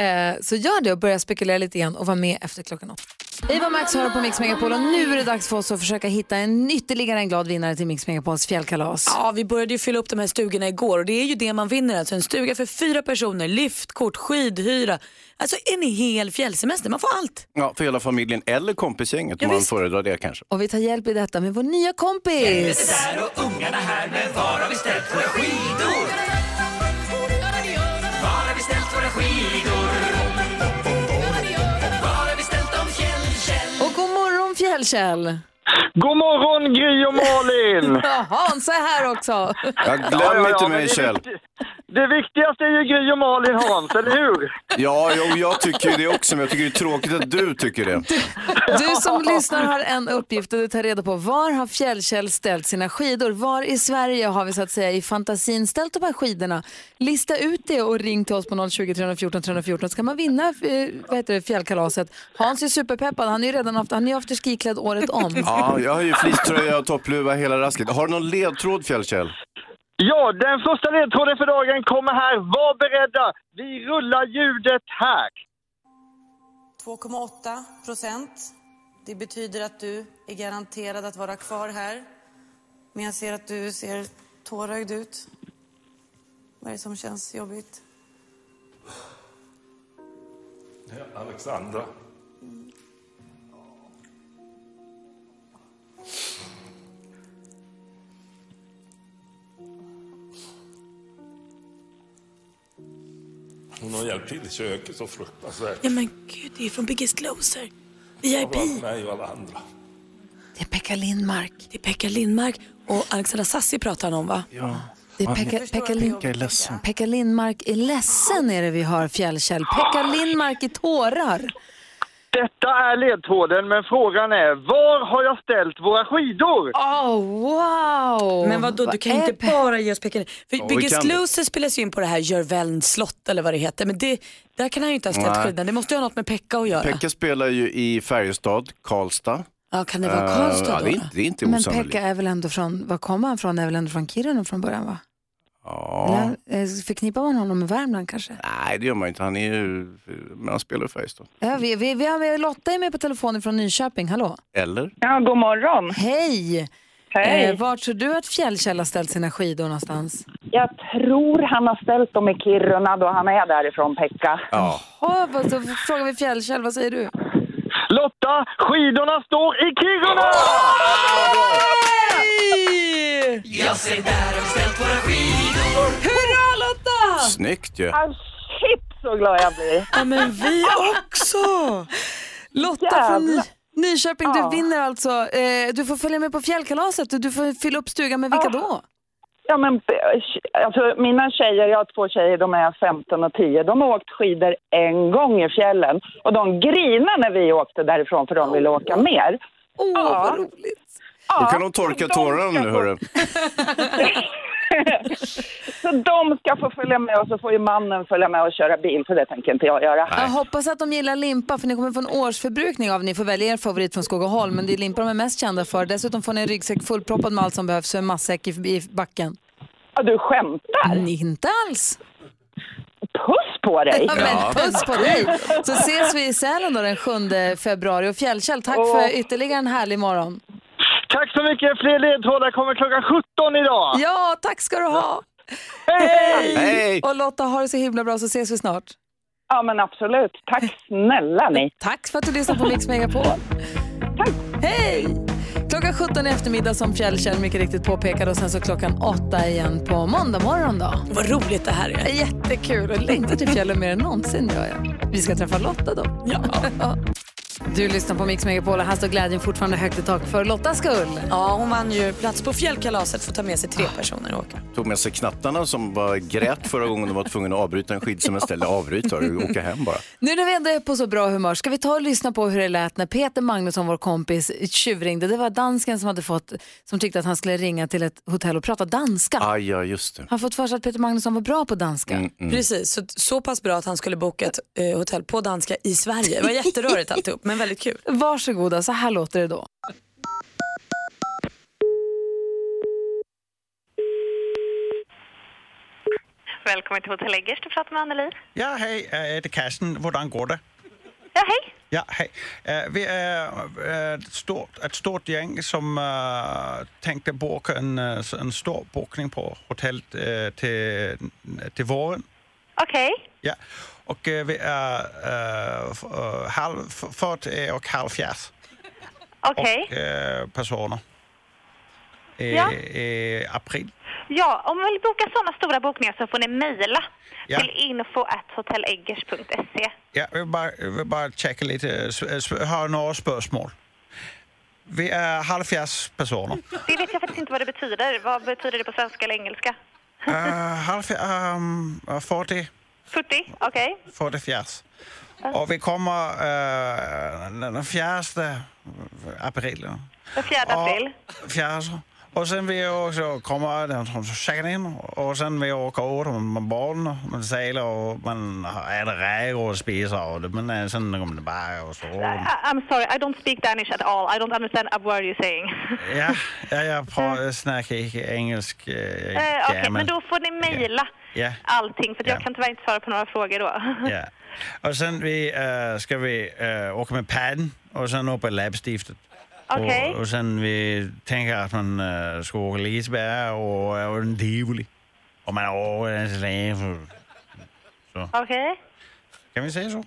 Speaker 1: Eh, Så gör det och börja spekulera lite igen och var med efter klockan åtta. Eva Max hör på Mix Megapol och nu är det dags för oss att försöka hitta en ytterligare en glad vinnare till Mix Megapols fjällkalas.
Speaker 5: Ja, vi började ju fylla upp de här stugorna igår och det är ju det man vinner alltså. En stuga för fyra personer, liftkort, skidhyra, alltså en hel fjällsemester. Man får allt.
Speaker 3: Ja, för hela familjen eller kompisgänget om man föredrar det kanske.
Speaker 1: Och vi tar hjälp i detta med vår nya kompis. Och god morgon Fjällkäll!
Speaker 13: God morgon Gry
Speaker 1: [laughs]
Speaker 13: och Malin!
Speaker 1: Ja, Hans är här också.
Speaker 3: Ja, glöm
Speaker 13: Ja, ja, ja,
Speaker 3: inte
Speaker 13: men
Speaker 3: mig
Speaker 13: det är
Speaker 3: Kjell.
Speaker 13: viktigt. Det viktigaste är ju Gry och Malin Hans, eller hur?
Speaker 3: [laughs] Ja, jo, jag tycker ju det också, men jag tycker det är tråkigt att du tycker det.
Speaker 1: Du som lyssnar har en uppgift och du tar reda på var har Fjällkäll ställt sina skidor? Var i Sverige har vi så att säga i fantasin ställt de här skidorna? Lista ut det och ring till oss på 020 314 314 så kan man vinna eh, vad heter det, fjällkalaset. Hans är superpeppad, han är ju redan haft, han är afterskiklädd året om.
Speaker 3: Ja, jag har ju fleecetröja och toppluva hela rasket. Har du någon ledtråd Fjällkäll?
Speaker 13: Ja, den första ledtråden för dagen kommer här. Var beredda! Vi rullar ljudet här.
Speaker 14: 2,8 procent. Det betyder att du är garanterad att vara kvar här. Men jag ser att du ser tårögd ut. Vad är det som känns jobbigt?
Speaker 15: Alexandra. Hon har hjälpt till i köket så fruktansvärt.
Speaker 5: Ja men gud, det är från Biggest Loser.
Speaker 15: Av
Speaker 1: E
Speaker 5: VIP.
Speaker 15: allt mig och alla andra.
Speaker 1: Det är Pekka Lindmark.
Speaker 5: Det är Pekka Lindmark och Alexandra Sassi pratar han om va?
Speaker 3: Ja.
Speaker 1: Det är Pekka, Pekka, Lind-
Speaker 3: är ledsen.
Speaker 1: Pekka Lindmark är ledsen är det vi hör Fjällkäll. Pekka Lindmark i tårar.
Speaker 13: Detta är ledtråden, men frågan är var har jag ställt våra skidor?
Speaker 1: Oh, wow!
Speaker 5: Men vadå, du kan ju inte bara ge oss pekande. För
Speaker 13: Ja, vi
Speaker 5: Biggest
Speaker 13: kan det.
Speaker 5: Loser spelas ju in på det här Jörvelns slott eller vad det heter. Men det, där kan han ju inte ha ställt
Speaker 3: Nej.
Speaker 5: skidorna. Det måste ju ha något med Pekka att göra.
Speaker 3: Pekka spelar ju i Färjestad, Karlstad.
Speaker 5: Ja, kan det vara
Speaker 3: Eh,
Speaker 5: Karlstad
Speaker 3: ja,
Speaker 5: då,
Speaker 3: det är
Speaker 5: då?
Speaker 3: inte, det är inte
Speaker 1: Men
Speaker 3: osannolikt.
Speaker 1: Pekka är väl ändå från, var kommer han från? Är väl ändå från Kiruna från början va?
Speaker 3: Ja.
Speaker 1: Eller, eh, förknippar man honom med Värmland kanske?
Speaker 3: Nej, det gör man inte. Han är ju... Men han spelar i Färjestad.
Speaker 1: Ja, vi, vi, vi har med Lotta är med på telefonen från Nyköping, hallå?
Speaker 3: Eller?
Speaker 1: Ja, god morgon. Hej!
Speaker 9: Hej.
Speaker 1: Eh, var tror du att Fjällkäll har ställt sina skidor någonstans?
Speaker 9: Jag tror han har ställt dem i Kiruna då han är därifrån, Pekka.
Speaker 3: Ja.
Speaker 1: Oh, vad, så frågar vi Fjällkäll, vad säger du?
Speaker 13: Lotta, skidorna står i Kiruna!
Speaker 12: Jag ser där har vi ställt våra skidor.
Speaker 1: Hurra Lotta!
Speaker 3: Snyggt ju.
Speaker 9: Ah, shit så glad jag blir.
Speaker 5: Ja men vi också!
Speaker 1: Lotta
Speaker 9: Jävlar.
Speaker 1: från, Ny- Nyköping,
Speaker 16: Ja.
Speaker 1: du vinner alltså. Eh, du får följa med på fjällkalaset och du får fylla upp stugan med vilka då?
Speaker 9: Ja, men, alltså, mina tjejer, jag har två tjejer, de är 15 och 10. De har åkt skidor en gång i fjällen och de grinade när vi åkte därifrån för de ville åka mer.
Speaker 1: Åh,
Speaker 9: ja.
Speaker 3: Då kan de torka tårarna nu hörru.
Speaker 9: Så de ska få följa med och så får ju mannen följa med och köra bil, för det tänker inte jag göra.
Speaker 1: Jag hoppas att de gillar limpa för ni kommer få en årsförbrukning av. Ni får välja er favorit från Skog och Holm, men det är limpa de är mest kända för. Dessutom får ni en ryggsäck fullproppad med allt som behövs och en matsäck i, i backen.
Speaker 9: Ja, du skämtar?
Speaker 1: Nej, inte alls.
Speaker 9: Puss på dig!
Speaker 1: [laughs] Ja, men puss på dig! Så ses vi i Sälen då den 7 februari. Och Fjällkäll, tack
Speaker 13: Åh.
Speaker 1: för ytterligare en härlig morgon.
Speaker 13: Tack så mycket. Fler ledtrådar kommer klockan 17 idag.
Speaker 1: Ja, tack ska du ha!
Speaker 13: Hej! Hej!
Speaker 1: Och Lotta, ha det så himla bra så ses vi snart.
Speaker 9: Ja, men absolut. Tack snälla ni.
Speaker 1: Tack för att du lyssnar på Mix Megapol. Hej! Klockan 17 i eftermiddag som Fjällkäll mycket riktigt påpekade och sen så klockan 8 igen på måndag morgon då.
Speaker 5: Vad roligt det här är.
Speaker 1: Jättekul och längtar till fjällen mer än någonsin gör jag. Vi ska träffa Lotta då. Ja. Du lyssnar på Mix Megapol och här står glädjen fortfarande högt i tak för Lottas skull.
Speaker 5: Ja, hon vann ju plats på fjällkalaset för att ta med sig tre personer och åka.
Speaker 3: Tog med sig knattarna som bara grät förra gången de var tvungna att avbryta en skidsemester. Eller avbryta, åka hem bara.
Speaker 1: Nu när vi ändå är på så bra humör ska vi ta och lyssna på hur det lät när Peter Magnusson, vår kompis, tjuvringde. Det var dansken som hade fått, som tyckte att han skulle ringa till ett hotell och prata danska.
Speaker 3: Aj, ja, just det.
Speaker 1: Han har fått för sig att Peter Magnusson var bra på
Speaker 3: Mm.
Speaker 1: danska.
Speaker 5: Mm. Precis, så, [laughs] så pass bra att han skulle boka ett eh, hotell på danska i Sverige. Det var jätterörigt alltihop, men väldigt kul.
Speaker 1: [laughs] Varsågoda, så här låter
Speaker 5: [laughs]
Speaker 1: det då.
Speaker 17: Välkommen till Hotell Eggers, du pratar med Anneli.
Speaker 18: Ja, hej, eh, det är Karsten. Hvordan går det?
Speaker 17: Ja, hej.
Speaker 18: Ja, hej. Eh, Vi är eh, ett stort, ett stort gäng som eh, tänkte boka en, eh, s- en stor bokning på hotellet eh, till, till våren.
Speaker 17: Okej.
Speaker 18: Ja. Och eh, vi är eh, f- eh, halv, f- 40 och halvfjerds.
Speaker 17: Okej.
Speaker 18: Och, eh, personer. I,
Speaker 17: Ja.
Speaker 18: I april.
Speaker 17: Ja, om man vill boka sådana stora bokningar så får ni mejla
Speaker 18: Ja.
Speaker 17: till info.hotelleggers.se.
Speaker 18: Ja, jag vill bara, jag vill bara checka lite, eh, s- eh, s- har några spörsmål. Vi är halvfjerds personer.
Speaker 17: Det vet jag faktiskt inte vad det betyder. Vad betyder det på svenska eller engelska?
Speaker 18: Uh, halv, um, 40,
Speaker 17: 40? Okej.
Speaker 18: 40 fjärs. Och vi kommer eh, den fjärde april.
Speaker 17: Den fjärde april.
Speaker 18: Fjärde. Och sen vi också kommer den som checkar in och sen vi åker ut med barn, man seglar och man äter räkor och spisar och det, men eh, sen kommer det bara och så.
Speaker 17: I- I'm sorry, I don't speak Danish at all. I don't understand a word you're saying.
Speaker 18: Ja, ja jag pra- snackar inte engelsk. eh,
Speaker 17: Eh, Okej,
Speaker 18: gammel.
Speaker 17: men då får ni mejla
Speaker 18: Ja.
Speaker 17: allting för att jag
Speaker 18: Ja.
Speaker 17: kan tyvärr inte svara på några frågor då.
Speaker 18: Ja. Och sen vi, eh, ska vi eh, åka med padden och sen upp i lappstiftet.
Speaker 17: Okej.
Speaker 18: Och, och sen vi tänker att man eh, ska åka Liseberg och, och en tivoli. Och man åker en släv.
Speaker 17: [laughs] Okej.
Speaker 18: Kan vi säga så?
Speaker 17: Eh,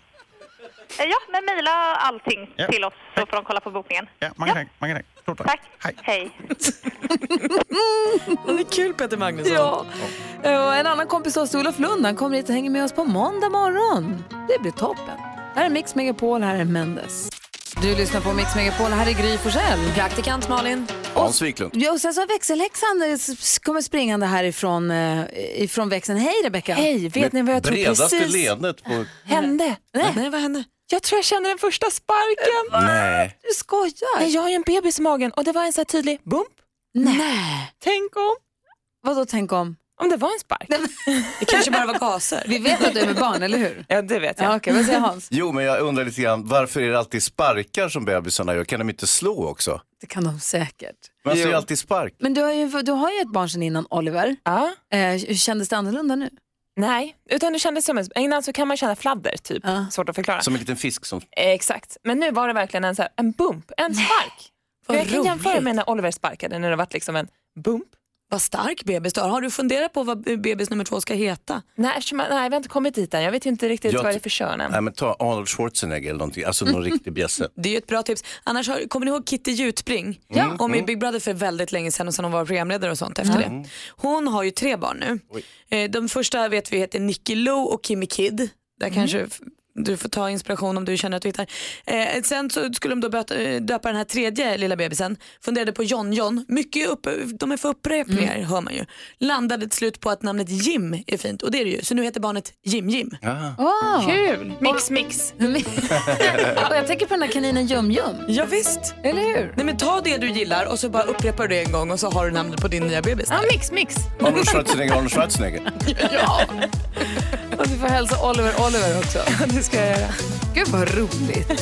Speaker 17: Ja, men mejla allting
Speaker 18: Ja.
Speaker 17: till oss så får de kolla på bokningen.
Speaker 18: Ja, många tack. Många tack. Stort tack.
Speaker 17: Tack. Hej.
Speaker 5: Det är kul Peter Magnusson.
Speaker 1: Ja. Eh, Och en annan kompis till oss, Olof Lund, han kommer hit och hänger med oss på måndag morgon. Det blir toppen. Här är Mix Megapol, här är Mendes. Du lyssnar på Mix Megapol, här är Gry Forssell.
Speaker 5: Praktikant Malin.
Speaker 3: Hans Wiklund.
Speaker 1: Ja, och sen så har växelhäxan eh, s- s- kommer springande härifrån eh, ifrån växeln. Hej Rebecka! Hej,
Speaker 3: Med bredaste ledet på...
Speaker 1: hände? Nej. vad hände?
Speaker 2: Jag tror jag kände den första sparken.
Speaker 3: Nej.
Speaker 1: Du skojar?
Speaker 2: Nej, jag har ju en bebis i magen och det var en så här tydlig bump.
Speaker 1: Nej.
Speaker 2: Tänk om.
Speaker 1: Vadå tänk om?
Speaker 2: Om det var en spark.
Speaker 5: Det kanske bara var gaser.
Speaker 1: Vi vet att du är med barn, eller hur?
Speaker 2: Ja, det vet
Speaker 1: jag. Ja, okej, vad säger Hans?
Speaker 3: [laughs] Jo, men jag undrar lite grann, varför är det alltid sparkar som bebisarna gör? Kan de inte slå också?
Speaker 1: Det kan de säkert.
Speaker 3: Man ser ju alltid spark.
Speaker 1: Men du har ju, du har ju ett barn sedan innan, Oliver.
Speaker 2: Ja.
Speaker 1: Eh, kändes det annorlunda nu?
Speaker 2: Nej, utan det kändes som en... Innan så kan man känna fladder, typ. Svårt att förklara.
Speaker 3: Som en liten fisk som...
Speaker 2: Eh, Exakt, men nu var det verkligen en, så här, en bump, en spark. För
Speaker 5: vad
Speaker 2: jag kan
Speaker 5: roligt.
Speaker 2: jämföra med när Oliver sparkade, när det var liksom en bump.
Speaker 5: Vad stark bebis du har. Har du funderat på vad bebis nummer två ska heta?
Speaker 2: Nej, eftersom jag, nej, vi har inte kommit dit än. Jag vet ju inte riktigt
Speaker 3: Jag
Speaker 2: vad det
Speaker 3: ty-
Speaker 2: är för kön än.
Speaker 3: Nej, men ta Arnold Schwarzenegger eller någonting, alltså någon riktig bjässe.
Speaker 5: Det är ju ett bra tips. Annars har, kommer ni ihåg Kitty Jutbring?
Speaker 3: Ja.
Speaker 5: Hon var ju
Speaker 3: Mm.
Speaker 5: Big Brother för väldigt länge sedan och sen hon var programledare och sånt efter
Speaker 3: Mm.
Speaker 5: det. Hon har ju
Speaker 3: Mm.
Speaker 5: tre barn nu. Eh, De första vet vi heter Nicky Lo och Kimmy Kid. Där kanske f- Du får ta inspiration om du känner att du hittar. Eh, sen så skulle de då böta, eh, döpa den här tredje lilla bebisen. Funderade på John John. Mycket upp, de är för upprepningar
Speaker 3: Mm.
Speaker 5: hör man ju. Landade till slut på att namnet Jim är fint och det är det ju. Så nu heter barnet Jim Jim.
Speaker 3: Ah.
Speaker 1: Åh!
Speaker 2: Kul!
Speaker 5: [laughs]
Speaker 2: Mix mix.
Speaker 1: Och jag tänker på den där kaninen Jum-Jum.
Speaker 5: Ja, visst.
Speaker 1: Eller hur?
Speaker 5: Nej men ta det du gillar och så bara upprepar du det en gång och så har du namnet på din nya bebis.
Speaker 2: Ja, mix mix.
Speaker 3: Arnold Schwarzenegger, Arnold Schwarzenegger.
Speaker 1: [laughs] Och du får hälsa Oliver Oliver också. [laughs]
Speaker 5: det ska jag göra.
Speaker 1: Gud vad roligt.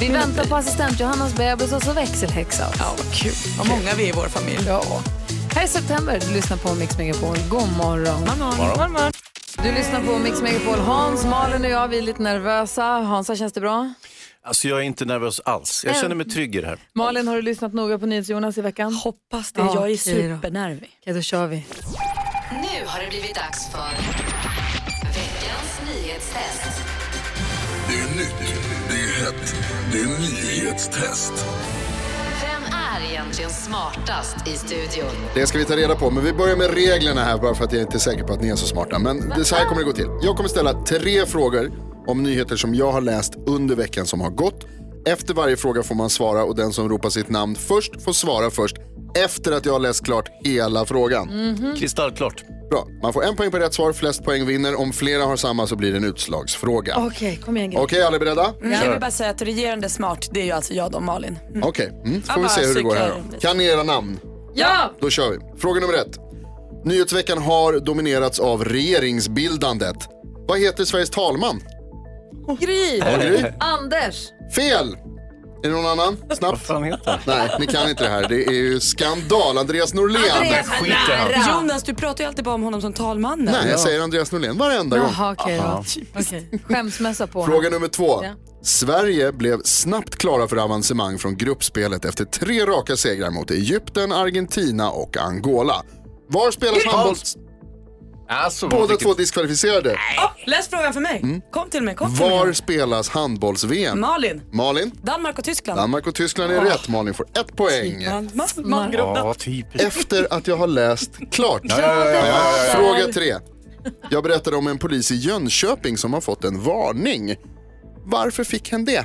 Speaker 1: Vi väntar på assistent Johannas bebis och så växelhäxa.
Speaker 5: Ja, vad kul. Vad många vi är i vår familj.
Speaker 1: Ja. Här är september. Du lyssnar på Mix Megapol. God morgon.
Speaker 5: morgon.
Speaker 1: Du lyssnar på Mix Megapol. Hans, Malin och jag, vi är lite nervösa. Hansa, känns det bra?
Speaker 3: Alltså jag är inte nervös alls. Jag känner mig trygg i det här.
Speaker 1: Malin, har du lyssnat noga på NyhetsJonas i veckan? Hoppas
Speaker 5: det. Jag är supernervig.
Speaker 1: Okej, då kör vi.
Speaker 8: Nu har det blivit dags för veckans nyhetstest.
Speaker 16: Det är nytt, det är hett, det är nyhetstest.
Speaker 8: Vem är egentligen smartast i studion?
Speaker 19: Det ska vi ta reda på, men vi börjar med reglerna här bara för att jag inte är säker på att ni är så smarta. Men det, så här kommer det gå till. Jag kommer ställa tre frågor om nyheter som jag har läst under veckan som har gått. Efter varje fråga får man svara och den som ropar sitt namn först får svara först efter att jag har läst klart hela frågan.
Speaker 3: Mhm. Kristallklart.
Speaker 19: Bra. Man får en poäng per rätt svar, flest poäng vinner. Om flera har samma så blir det en utslagsfråga.
Speaker 1: Okej, kom igen. Mm.
Speaker 19: Okej, alla är beredda?
Speaker 5: Jag vill bara säga att regerande smart, det är ju alltså jag då Malin. Mm.
Speaker 19: Okej, mm. får
Speaker 5: Jag
Speaker 19: vi
Speaker 5: bara
Speaker 19: se hur det går här
Speaker 5: cyklar.
Speaker 19: då. Kan ni era namn?
Speaker 5: Ja!
Speaker 19: Då kör vi. Fråga nummer ett. Nyhetsveckan har dominerats av regeringsbildandet. Vad heter Sveriges talman?
Speaker 1: Gry!
Speaker 19: Ja, Gry.
Speaker 1: Anders!
Speaker 19: Fel! Är det någon annan? Snabbt. Vad
Speaker 3: fan heter han?
Speaker 19: Nej, ni kan inte det här. Det är ju skandal. Andreas Norlén.
Speaker 5: Jonas, du pratar ju alltid bara om honom som talmannen.
Speaker 19: Nej, jag säger Andreas Norlén varenda gång.
Speaker 1: Jaha, okej då. Okej. Skämsmässa på
Speaker 19: Fråga
Speaker 1: honom.
Speaker 19: nummer två.
Speaker 1: Ja.
Speaker 19: Sverige blev snabbt klara för avancemang från gruppspelet efter tre raka segrar mot Egypten, Argentina och Angola. Var spelas
Speaker 5: Hur-
Speaker 19: handboll... Båda
Speaker 5: vilket-
Speaker 19: två diskvalificerade.
Speaker 5: Oh, läs frågan för mig. Kom till mig, kom till
Speaker 19: Mm. Var
Speaker 5: mig.
Speaker 19: spelas handbolls-VM?
Speaker 5: Malin.
Speaker 19: Malin?
Speaker 5: Danmark och Tyskland.
Speaker 19: Danmark och Tyskland är
Speaker 5: Åh.
Speaker 19: rätt. Malin får ett poäng.
Speaker 5: Man, man, man grovna.
Speaker 3: typiskt.
Speaker 19: Efter att jag har läst klart.
Speaker 5: Ja, ja, ja, ja, ja.
Speaker 19: Fråga tre. Jag berättade om en polis i Jönköping som har fått en varning. Varför fick han det?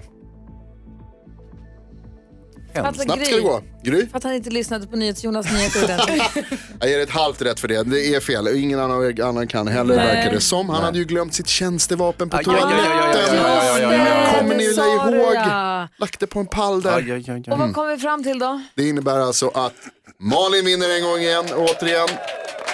Speaker 1: Fattar
Speaker 19: Snabbt ska
Speaker 1: Alltså, Gry.
Speaker 19: det gå. Gry?
Speaker 1: För att han inte lyssnade på NyhetsJonas nyheter ordentligt.
Speaker 19: Jag ger ett halvt rätt för det. Det är fel. Och Ingen annan, av er- annan kan heller
Speaker 1: Nej.
Speaker 19: verkar det som. Han hade ju glömt sitt tjänstevapen på
Speaker 3: Aj, aj, aj, aj, aj, aj, aj, aj, aj, aj, aj,
Speaker 19: toaletten.
Speaker 3: aj.
Speaker 19: Kommer ni
Speaker 1: Det
Speaker 19: vilja
Speaker 1: sa du,
Speaker 19: ihåg?
Speaker 1: ja.
Speaker 19: Lagt det på en pall där.
Speaker 1: Och vad
Speaker 19: Mm.
Speaker 1: kom vi fram till då?
Speaker 19: Det innebär alltså att Malin vinner en gång igen, återigen.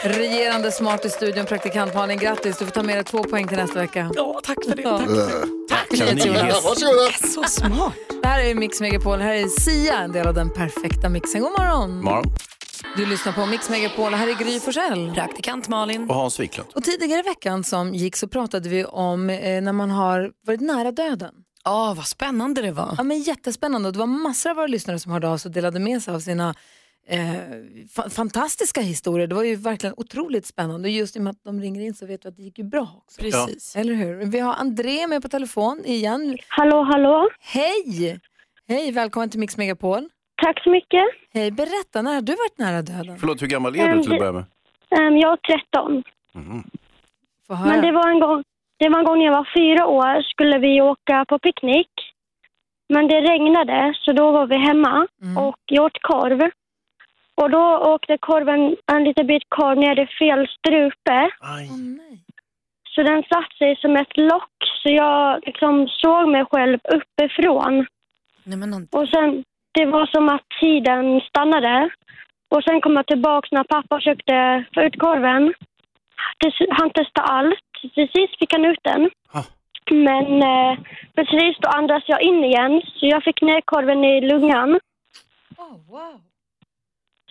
Speaker 1: Regerande smart i studion, praktikant Malin. Grattis, du får ta med dig två poäng till nästa vecka.
Speaker 5: Ja, tack för det.
Speaker 20: Mm.
Speaker 1: Tack,
Speaker 19: Kan ni-
Speaker 1: Jonas.
Speaker 19: Varsågoda.
Speaker 5: Det är så smart.
Speaker 1: Det här är Mix Megapol. Här är Sia, en del av den perfekta mixen. God morgon.
Speaker 3: Morgon.
Speaker 1: Du lyssnar på Mix Megapol. Här är Gry Forssell.
Speaker 5: Praktikant Malin.
Speaker 3: Och Hans Wiklund.
Speaker 1: Och tidigare i veckan som gick så pratade vi om eh, när man har varit nära döden.
Speaker 5: Ja, vad spännande det var.
Speaker 1: Ja, men jättespännande. Och det var massor av våra lyssnare som hörde av sig och delade med sig av sina eh, fa- fantastiska historier. Det var ju verkligen otroligt spännande. Och just i och med att de ringer in så vet vi att det gick ju bra också.
Speaker 5: Precis.
Speaker 1: Eller hur? Vi har André med på telefon igen.
Speaker 21: Hallå, hallå.
Speaker 1: Hej! Hej, välkommen till Mix Megapol.
Speaker 21: Tack så mycket.
Speaker 1: Hej, berätta, när har du varit nära döden?
Speaker 3: Förlåt, hur gammal är du till att börja med?
Speaker 21: Ehm, jag är 13.
Speaker 1: Få höra.
Speaker 21: Men det var, en gång, det var en gång när jag var fyra år skulle vi åka på picknick. Men det regnade så då var vi hemma
Speaker 1: Mm.
Speaker 21: och jag åt korv. Och då åkte korven, en liten bit korv ner i fel strupe. Så den satt sig som ett lock så jag liksom såg mig själv uppifrån. Och sen, det var som att tiden stannade. Och sen kom jag tillbaka när pappa försökte få ut korven. Det- Han testade allt. Till sist fick han ut den. Men eh, precis då andades jag in igen så jag fick ner korven i lungan.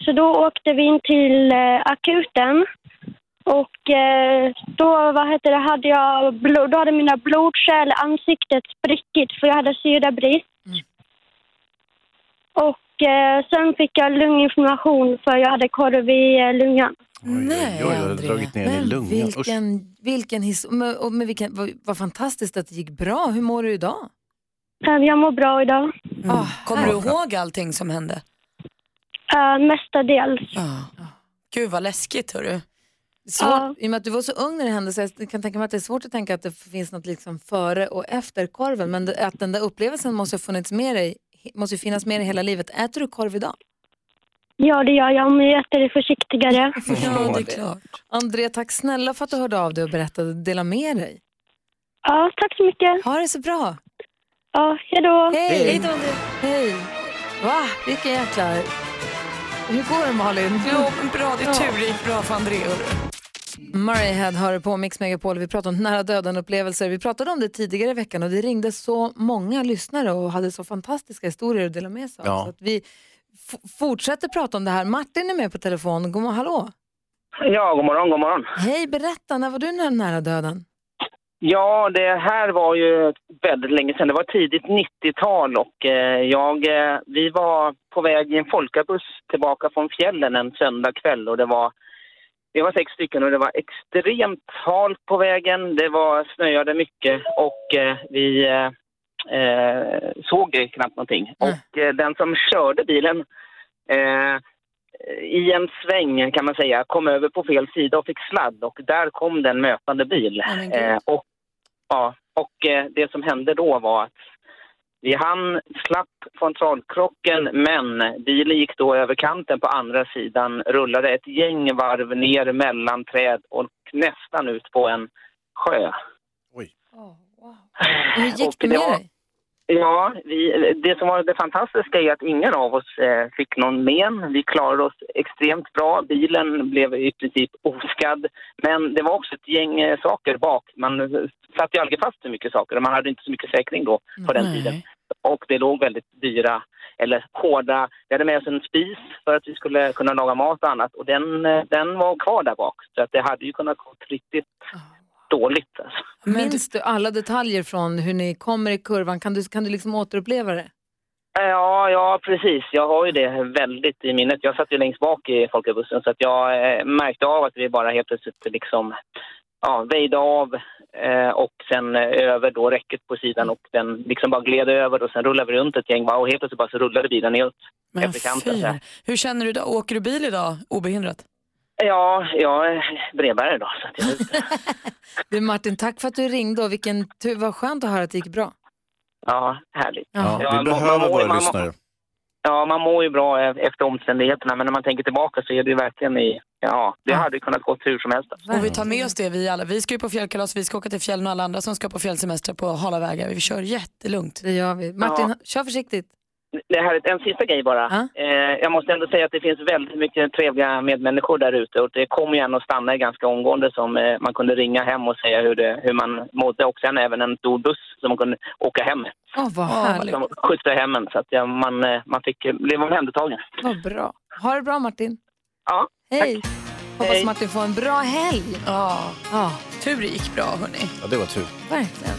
Speaker 21: Så då åkte vi in till eh, akuten. Och eh, då, vad heter det, hade jag blod, då hade mina blodkärl i ansiktet sprickit för jag hade syrabrist. Och eh, sen fick jag lunginflammation för jag hade korv i eh, lungan.
Speaker 1: Nej,
Speaker 3: Oj, jag har dragit ner i lungan. Usch.
Speaker 1: vilken, vilken his- och med, och med vilken, vad, vad fantastiskt att det gick bra. Hur mår du idag? Mm.
Speaker 21: Eh, Jag mår bra idag,
Speaker 5: Ah, Kommer du ihåg allting som hände?
Speaker 21: eh, mestadels.
Speaker 5: Gud vad läskigt hörru.
Speaker 1: Svårt,
Speaker 21: Ja.
Speaker 1: I och med att du var så ung när det hände så jag kan tänka mig att det är svårt att tänka att det finns något liksom före och efter korven. Men det- att den där upplevelsen måste ha funnits med dig, måste ju finnas med dig hela livet. Äter du korv idag?
Speaker 21: Ja, det gör jag, men jag äter det försiktigare.
Speaker 1: Ja, det är klart. André, tack snälla för att du hörde av dig och berättade. Dela med dig.
Speaker 21: Ja, tack så mycket.
Speaker 1: Ha det så bra.
Speaker 21: Ja, hejdå.
Speaker 1: Hej! Hej! Va, vilken jäkla... Hur går det Malin?
Speaker 5: Jo, men bra. Det är turrikt bra för André.
Speaker 1: Murray Head hör på Mix Megapol. Vi pratade om nära döden-upplevelser. Vi pratade om det tidigare i veckan och det ringde så många lyssnare och hade så fantastiska historier att dela med sig av.
Speaker 12: Ja.
Speaker 1: Så att vi f- fortsätter prata om det här. Martin är med på telefon. God morgon, hallå!
Speaker 22: Ja, god morgon, god morgon.
Speaker 1: Hej, berätta, när var du nära, nära döden?
Speaker 22: Ja, det här var ju väldigt länge sedan. Det var tidigt 90-tal och eh, jag, eh, vi var på väg i en folkabuss tillbaka från fjällen en söndag kväll och det var, vi var sex stycken och det var extremt halt på vägen. Det var, snöade mycket och eh, vi eh, eh, såg ju knappt någonting. Och eh, den som körde bilen eh, i en sväng kan man säga, kom över på fel sida och fick sladd och där kom den mötande bil.
Speaker 12: Nej, men gud.
Speaker 22: eh, och ja, och eh, det som hände då var att vi hann slapp frontalkrocken men bilen gick då över kanten på andra sidan, rullade ett gäng varv ner mellan träd och nästan ut på en sjö.
Speaker 1: Och hur gick det med
Speaker 22: var-
Speaker 1: dig?
Speaker 22: Ja, vi, det som var det fantastiska är att ingen av oss eh, fick någon men. Vi klarade oss extremt bra. Bilen blev i princip oskadd. Men det var också ett gäng eh, saker bak. Man eh, satt ju aldrig fast så mycket saker och man hade inte så mycket säkring då
Speaker 5: Mm.
Speaker 22: på den
Speaker 12: Nej.
Speaker 22: tiden. Och det låg väldigt dyra, eller hårda... Vi hade med oss en spis för att vi skulle kunna laga mat och annat och den, eh, den var kvar där bak. Så att det hade ju kunnat gå riktigt
Speaker 1: Ah.
Speaker 22: dåligt. Alltså.
Speaker 1: Minns du alla detaljer från hur ni kommer i kurvan? Kan du, kan du liksom återuppleva det?
Speaker 22: Ja, ja, precis. Jag har ju det väldigt i minnet. Jag satt ju längst bak i folkabussen så att jag eh, märkte av att vi bara helt plötsligt liksom, ja, väjde av eh, och sen eh, över då räcket på sidan och den liksom bara gled över och sen rullade vi runt ett gäng bara, och helt plötsligt bara så rullade bilen ner
Speaker 5: Men
Speaker 22: efter kanten. så
Speaker 5: fy.
Speaker 22: här.
Speaker 5: Hur känner du idag? Åker du bil idag obehindrat?
Speaker 22: Ja, jag är brevbärare då. Så att jag,
Speaker 1: Du Martin, tack för att du ringde och vilken tur, vad skönt att höra att det gick bra.
Speaker 22: ja, härligt.
Speaker 1: Ja, vi
Speaker 22: man-
Speaker 1: behöver
Speaker 22: man mår-
Speaker 1: våra
Speaker 22: man mår-
Speaker 1: lyssnare.
Speaker 22: Ja, man mår ju bra eh, efter omständigheterna men när man tänker tillbaka så är det ju verkligen i, ja, det hade ju kunnat gå hur som helst. alltså.
Speaker 5: Och vi tar med oss det vi alla. Vi ska ju på fjällkalas, vi ska åka till fjällen och alla andra som ska på fjällsemester på hala vägar. Vi kör jättelugnt.
Speaker 1: Det gör vi. Martin, kör försiktigt.
Speaker 22: Det här är en sista grej bara. Eh, jag måste ändå säga att det finns väldigt mycket trevliga medmänniskor där ute och det kommer ju en att stanna ganska omgående som eh, man kunde ringa hem och säga hur, det, hur man mådde och sen även en stor buss som man kunde åka hem med.
Speaker 1: Åh, vad härligt.
Speaker 22: Som skjutsade hem en så att ja, man, eh, man fick eh, bli omhändertagen.
Speaker 1: Vad bra. Ha det bra Martin.
Speaker 22: Ja,
Speaker 1: Hej. Hoppas Martin får en bra helg.
Speaker 5: Ja.
Speaker 1: ja.
Speaker 5: Tur det gick bra hörni.
Speaker 3: Ja, det var tur.
Speaker 1: Verkligen.